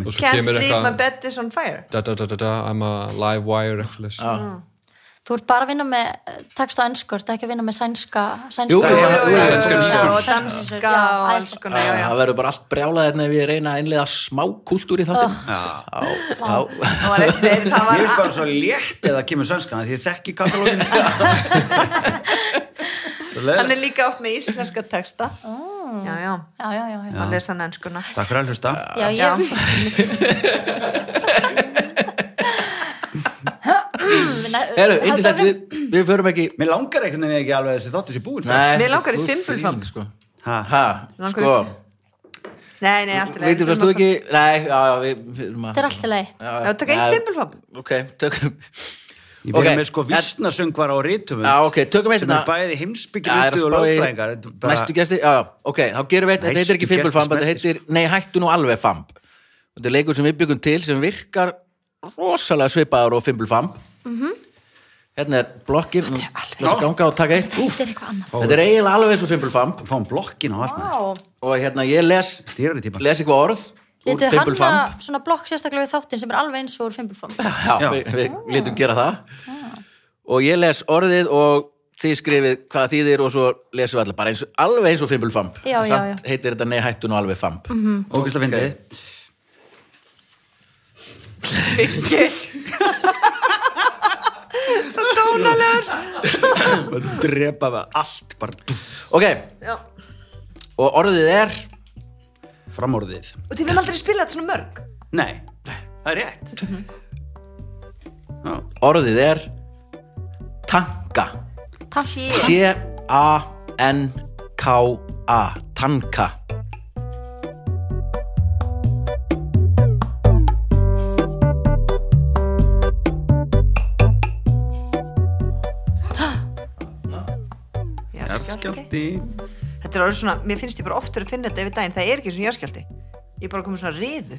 Og
Ah.
svo
Can't
kemur
sleep, my
eitthvað
bed is on fire
da, da, da, da, da, I'm a live wire eitthvað svoleiðis.
Já.
Þú ert bara að vinna með eh, texta á ennsku, ert ekki að vinna með sænska, sænska.
Jú,
jú, jú, jú,
Íslenska
jú,
vísur.
jú,
og danska
Já,
og alls
æðislegt.
konar já, já.
Það verður bara allt brjálað hérna ef ég reyna að innlega smá kultúr í þáttin.
Já.
Oh. Já,
Það var eitthvað- það
Ég
var
veist bara svo létt eða kemur sænskan því ég þekki katalógin
hann
Takk
er líka oft með íslenska texta já, já,
Já, já, já. já.
hann lesa hann ennskuna
fyrir að hlusta
Já,
Já.
ég...
Heru, indislegt, við, við förum ekki...
Mér langar einhvern veginn ekki alveg að þessi þáttu sér búin
Nei,
Mig langar í
þú
fimbulfamb.
þín, Sko.
sko. Ha,
Ha,
Langar
sko,
í- nei, nei, alltaf
veitum fyrst þú ekki... Nei, já, já, við... Þetta
Þetta er allt í lagi.
já, taka eitt fimmulfam
Ok, tökum...
Ég byrja
Ok.
með sko vísnasöngvar á rítumund
Já, ok, tökum eitt
sem er
hérna.
bæði heimsbyggjur
Já, er að
rítu og
spá í
lögfræðingar Þetta er bara-
Næstu gesti, já, já, ok, þá gerum við eitt, þetta
Næstu
heitir ekki
gestur
fimbulfamb, þetta
smeltir.
heitir, nei, hættu nú alveg famb. Þetta er leikur sem við byggum til sem virkar rosalega svipaður og fimbulfamb.
Mhm.
Hérna er blokkin, þessi ganga og taka eitt, úf,
Þetta er eitthvað annað.
þetta er eiginlega alveg eins og fimbulfamb
Fáum blokkin á um allt maður
Vá.
og hérna ég les,
Dýrari típa
les eitthvað orð úr
Letu hanna
fimbulfamb.
svona blokk sérstaklega við þáttinn sem er alveg eins og úr fimbulfamb.
Já,
Já.
við,
Ah.
við lítum gera það. Og ég les orðið og þið skrifið hvað það þýðir og svo lesum við allir bara eins, alveg eins og fimbulfamb.
Já, já, Mhm.
Samt heitir þetta nei, hættu nú alveg famb.
Ógæsla fyndið
dónalegur
Bara Drepa við allt bara dúff,
Ok,
Já.
og orðið er
framorðið
og þið vil aldrei spila þetta svona mörg
Nei, það er rétt Já,
Mhm. orðið er tanka
Takk.
T-A-N-K-A tanka
Jarðskjálfti.
Jarðskjálfti
þetta er orðið svona, mér finnst ég bara oftur að finna þetta yfir daginn, það er ekki svona járskjaldi ég er bara komið svona riðu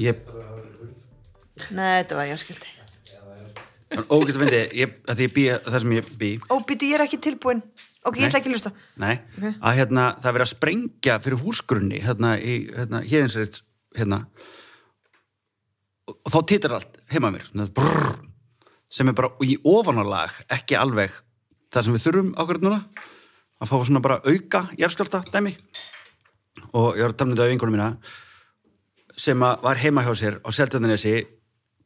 Ég
nei, þetta var járskjaldi
Ógæsla fyndið, ég, að því ég bý það sem ég bý
ó, býtu, ég er ekki tilbúin ok, ég
Nei.
ætla ekki að lusta
Nei, að hérna, það er verið að sprengja fyrir húsgrunni hérna, í, hérna, héðinsreitt hérna og, og þá titrar allt heima mér svona, brrr, sem er bara í ofanálag ekki alveg það sem við þurfum ákvært núna að fá svona bara auka jarðskjálta dæmi og ég var að tala um þetta af vingunum mína sem að var heima hjá sér á Seldjarnanesi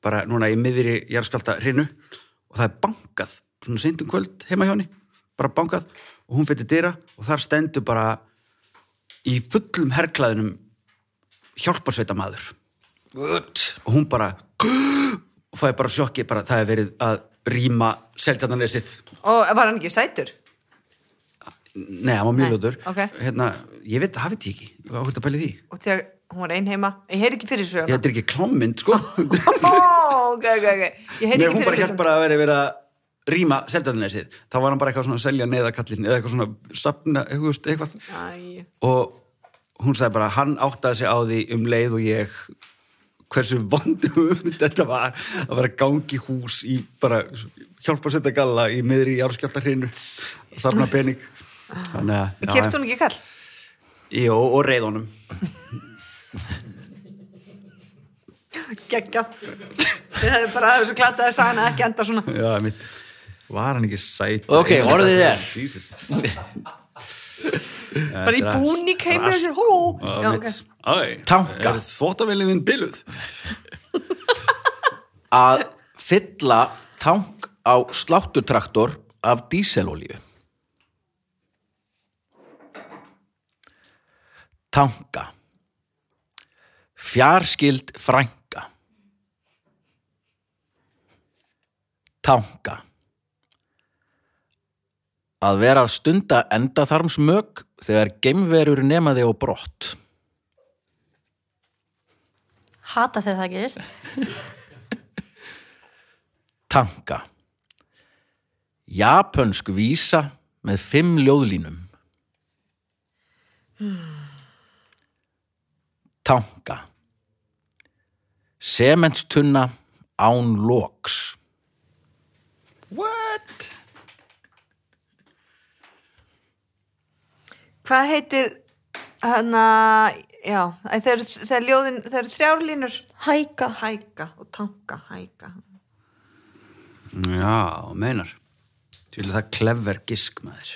bara núna í miðri jarðskjálta hrinu og það er bankað svona seintum kvöld heima hjá henni bara bankað og hún fyrir dyra og þar stendur bara í fullum herklaðinum hjálparsveita maður
Good.
og hún bara og fæði bara sjokki bara það er verið að rýma Seldjarnanesið
og var hann ekki sætur?
Nei, hann var mjög
Nei,
ljótur
ok.
hérna, ég veit það hafið ég ekki, hvað ákvæmt að pæli því
og þegar hún var einn heima ég heyri ekki fyrir
ég
söguna
þetta er ekki klámynd sko
Ó, ok, ok, ok ég heyri
Nei,
ekki
hún bara
fyrir
held bara að vera verið að rýma seldanesið, þá var hann bara eitthvað svona að selja neðakallin eða eitthvað svona sapna, eitthvað, veist, eitthvað.
Æ.
og hún sagði bara hann áttaði sig á því um leið og ég hversu vondum þetta var að vera gangi hús í bara hjálpa að setja galla í miðri í árskjáltarhinu að sapna pening þannig að
kefti hún ekki kall
Jó, og reyðunum
geggja þið hefðu bara aðeins og glataði að sagna ekki enda svona
Já, mitt Var hann ekki sæt
Ok, orðið er.
Jesus
bara í búning heima og sér hó já, ok
Æ,
Tanka.
er þvóttavélinn þinn biluð?
að fylla tank á sláttutraktor af díselolíu tanka fjárskild frænka tanka að vera að stunda endaþarmsmök þegar geimverur nema þig á brott
Hata þegar það gerist.
tanka Japönsk vísa með fimm ljóðlínum tanka sementstunna án lóks
What?
hvað heitir hana já, æ, þeir, þeir ljóðin þeir þrjárlínur
Hæka.
hæka og tanka, hæka
Já, meinar. Því vil það klefver gisk maður.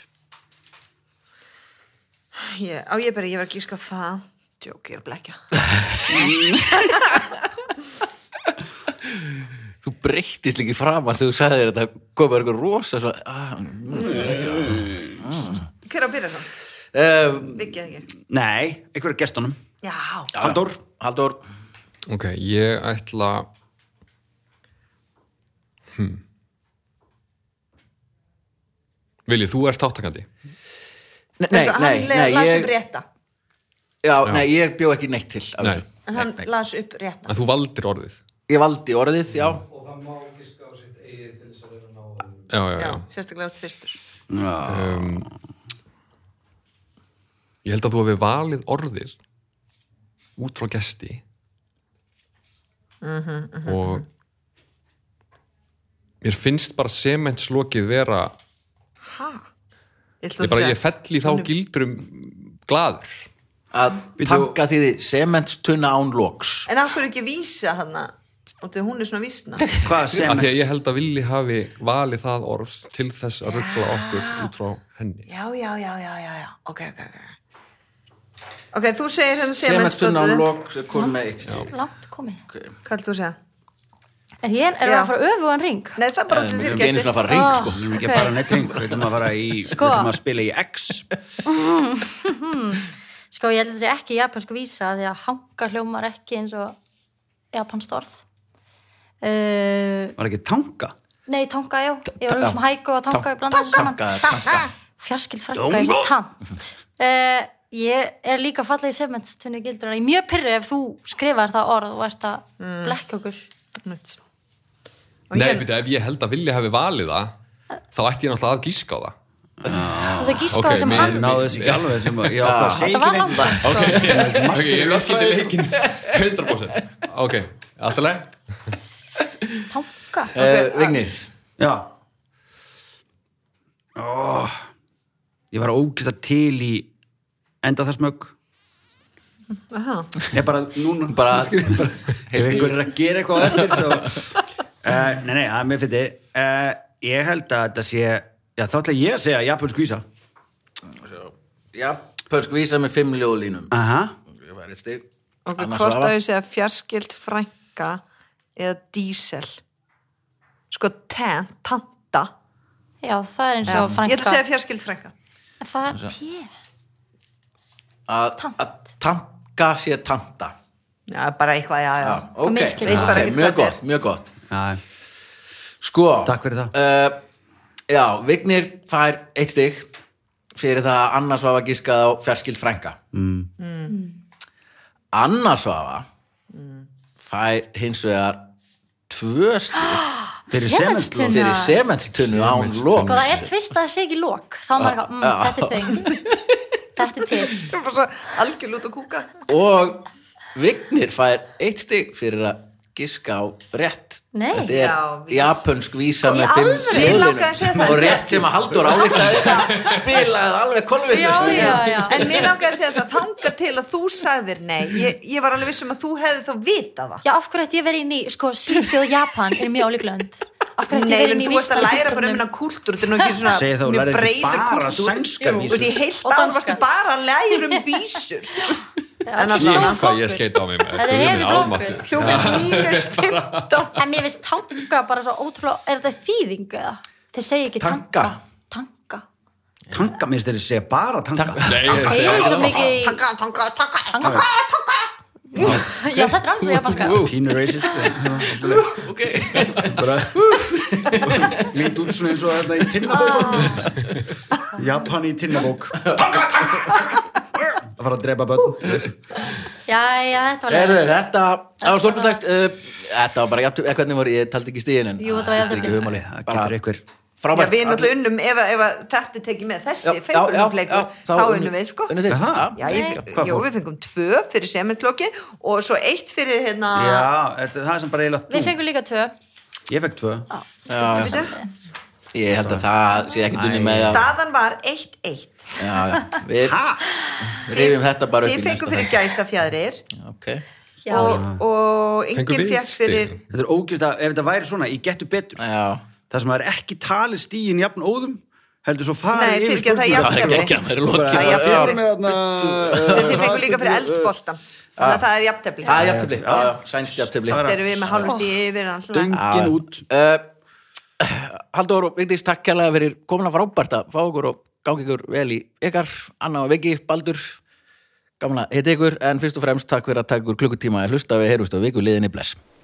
Ég, á ég bara, ég var að gíska á það. Jók, ég er að blekja.
Þú breyttist líki framar þegar þú sagði þér að það komið eitthvað rosa svo, ah,
Hver á að byrja það?
um,
Vikið ekki.
Ehm, Nei, einhverja gestunum.
Já.
Halldór.
Halldór
Ok, ég ætla hmm. Viljið, þú ert þáttakandi
Nei, nei, nei, nei,
Hann las
ég,
upp rétta.
já, nei ég bjó ekki neitt til af
Nei.
þessu.
En hann las upp rétta.
En þú valdir orðið
Ég valdi orðið, já
Já, já, já,
Já, sérstaklega á tvistur.
Já.
Ég held að þú hefur valið orðið út frá gesti og mér finnst bara sementslokið vera
Hæ?
ég bara ég fell í þá gildrum glaður
að tanka því sementstunna án loks
En af hverju ekki vísa hann að, og þegar hún er svona vísna.
Hvað
af
sem
því að ég held að villi hafi valið það orð til þess að ruggla okkur út frá henni
Já, já, já, já, já, já. Ok, ok, ok. Ok, þú segir hérna henni
sementstunna án
sementstöðu.
loks er konum með eitt stig.
langt komið.
Hvað er þú að segja?
Er ég er
Já.
að fara öfugan ring?
Nei, það er bara
Eh, Við erum
til þér
ekki einu
gæsti.
svona að fara ring
Ah.
sko.
Við erum ekki að fara neitt hring, við ætlum að fara í,
Sko.
við ætlum að spila í X.
Sko, ég held að þetta sé ekki japansku vísa því að hanga hljómar ekki eins og japanskt orð. Uh,
Var ekki tanka?
nei, tanga, já. Ég var um alveg sem hæku og tanga, ég blanda þessu saman.
Tanka, tanka.
Fjarskild frækka eins og tant. Uh, ég er líka fallið í sementstunni gildur. Ég er mjög pyrri ef þú skrifar það orð og ert að
Mm.
blekja okkur.
Nuts. Og
Nei,
ég-
byrja, ef ég held að villi hafi valið það þá ætti ég náttúrulega að gíska á það
Þú þau gíska
Ok,
okay, sem
mér-
Ég
hann...
náðu þessi ekki alveg sem ég ákvað að segja
Það
ekki
var
neitt.
langt, sko.
Ok,
Master í
ég veist ekki
lögfræði, sko.
til leikin 100% Ok, alltaf leið
Tanga.
Eh, Vignir,
Já. Ó, ég var ógæsta til í enda það smög.
Aha.
Ég bara, núna,
bara
ef einhver er að gera eitthvað á eftir þá, uh, nei, nei, það er mér fyndi uh, ég held að þetta sé já, þá ætla ég að segja japansk vísa
já, pönsk vísa með fimm ljóðlínum
aha,
Ég var eitt stig
Ok,
Anna
hvort
Svava.
að ég segja fjarskild frænka eða dísel sko ten, tanta
Já, það er eins og
ég ætla að segja
frænka.
fjarskild frænka
Það er tíð.
Að að tanka sé tanta
já, bara eitthvað, já, já,
Já, Ah, ok,
misskilur.
Ok,
Veit bara ekki
mjög
hvað það er.
gott, mjög gott
já,
Sko
Takk fyrir það.
uh, Já, Vignir fær eitt stig fyrir það að Anna Svafa gískaði á fjarskild frænga mm. Anna Svafa fær hins vegar tvö stig
fyrir
Sementstunna.
sementslu
fyrir sementstunnu án lók
Sko það er tvist að það sé ekki lók þá er maður eitthvað, mm, þetta er þing þetta er til,
það er bara svo algjör lút og kúka
og Vignir fær eitt stig fyrir að gíska á rétt
Nei.
þetta er
Já, vís.
japansk vísa
Í
með
alvöru?
fimm
Mig
ljóðlínum.
langaði að segja það.
og rétt sem að Halldór álítaði þetta spilaði það alveg kolvillust
Já, já, já.
en mér langaði að segja það þanga til að þú sagðir nei ég, ég var alveg vissum að þú hefði þá vitað það
já af hverju ætti ég verið inn í sko Svíþjóð og Japan er mjög ólík lönd af hverju ætti
Nei,
ég verið
en
inn í
þú ert að læra
vísindavefnum?
bara um hennar kúltúr Þetta er nú ekki
Segið þá,
svona
lærið
mjög
þið
breiður
bara
kúltúr
sænskar vísur.
Þú veit, í heilt
Og
ár
danskar.
varstu bara að læra um vísur En
þetta er
allavega.
Ég
stór
hvað ég
flokkur.
skeita á mig með
Þetta er
Guð minn
hefur flokkur.
almáttugur.
Þú finnst mínus 15
en mér finnst tanga bara svo ótrúlega er þetta þýðing eða? þeir segja ekki
Tanka.
tanka tanga,
tanka, minnst þeir segja bara tanka
Nei, ég er að
þeir
segja
eru svo
það.
mikið í-
Taka, taka, taka
tanga, tanga já þetta er alls og japanska
pínu racist ok bara lít út svona eins og þetta í tinnabók Japan í tinnabók tanka, tanka, tanka að fara að drepa börn
já já þetta var
Heru,
leiðinlegt.
þetta, það var stórkvæmstækt uh, Þetta var bara jafn, eitthvað nefnir voru, ég taldi ekki stíðin en
Jú, þetta var
skiptir
jafntefli.
ekki hugmáli
það
Bara
getur ykkur
Já,
frábært
við erum
Allir-
alltaf unnum, ef, ef að þetta er tekið með þessi
Já, já, já, já,
feimurumleikur, þá unnum við, sko.
unnum þið.
Jaha.
Já.
Já, ég,
Hvað
jó,
fór?
við fengum tvö fyrir sementlokki og svo eitt fyrir hérna,
já, þetta, það er sem bara eiginlega
við fengum líka tvö
þú ég fekk tvö
Já,
veitu,
Ég held að það sé ekki dunni með að
staðan var 1-1.
já, já, Við rifjum þetta bara upp
Þið
í
fengum
næsta
fyrir gæsafjæðrir
þætti. Ok.
já,
og, og
Fengum
yngir
við
fekk fyrir,
stig?
þetta er ógæst að ef þetta væri svona, ég getur betur
Já,
þar sem það er ekki talið stíin jafn óðum heldur svo farið
Nei, fyrirgeðu, það er
spurninguna.
það er
jafnrétti.
Bara, förum við þarna, uh,
ekki að mér lokið
Það er jafnrétti. En þið fengur líka fyrir eldboltan þannig að það er jafntefli
Það er jafntefli, já, já, sænst jafntefli
Það
Þetta eru við með hálfust í yfir alltaf
Döngin út
uh, Haldur og Vigdís, takk kærlega fyrir komin að frábært að fá okkur og gangi ykkur vel í ykkar Anna og Viki, Baldur gaman að heita ykkur, en fyrst og fremst takk fyrir að taka ykkur klukkutíma að hlusta við heyrumst á viku liðinni bless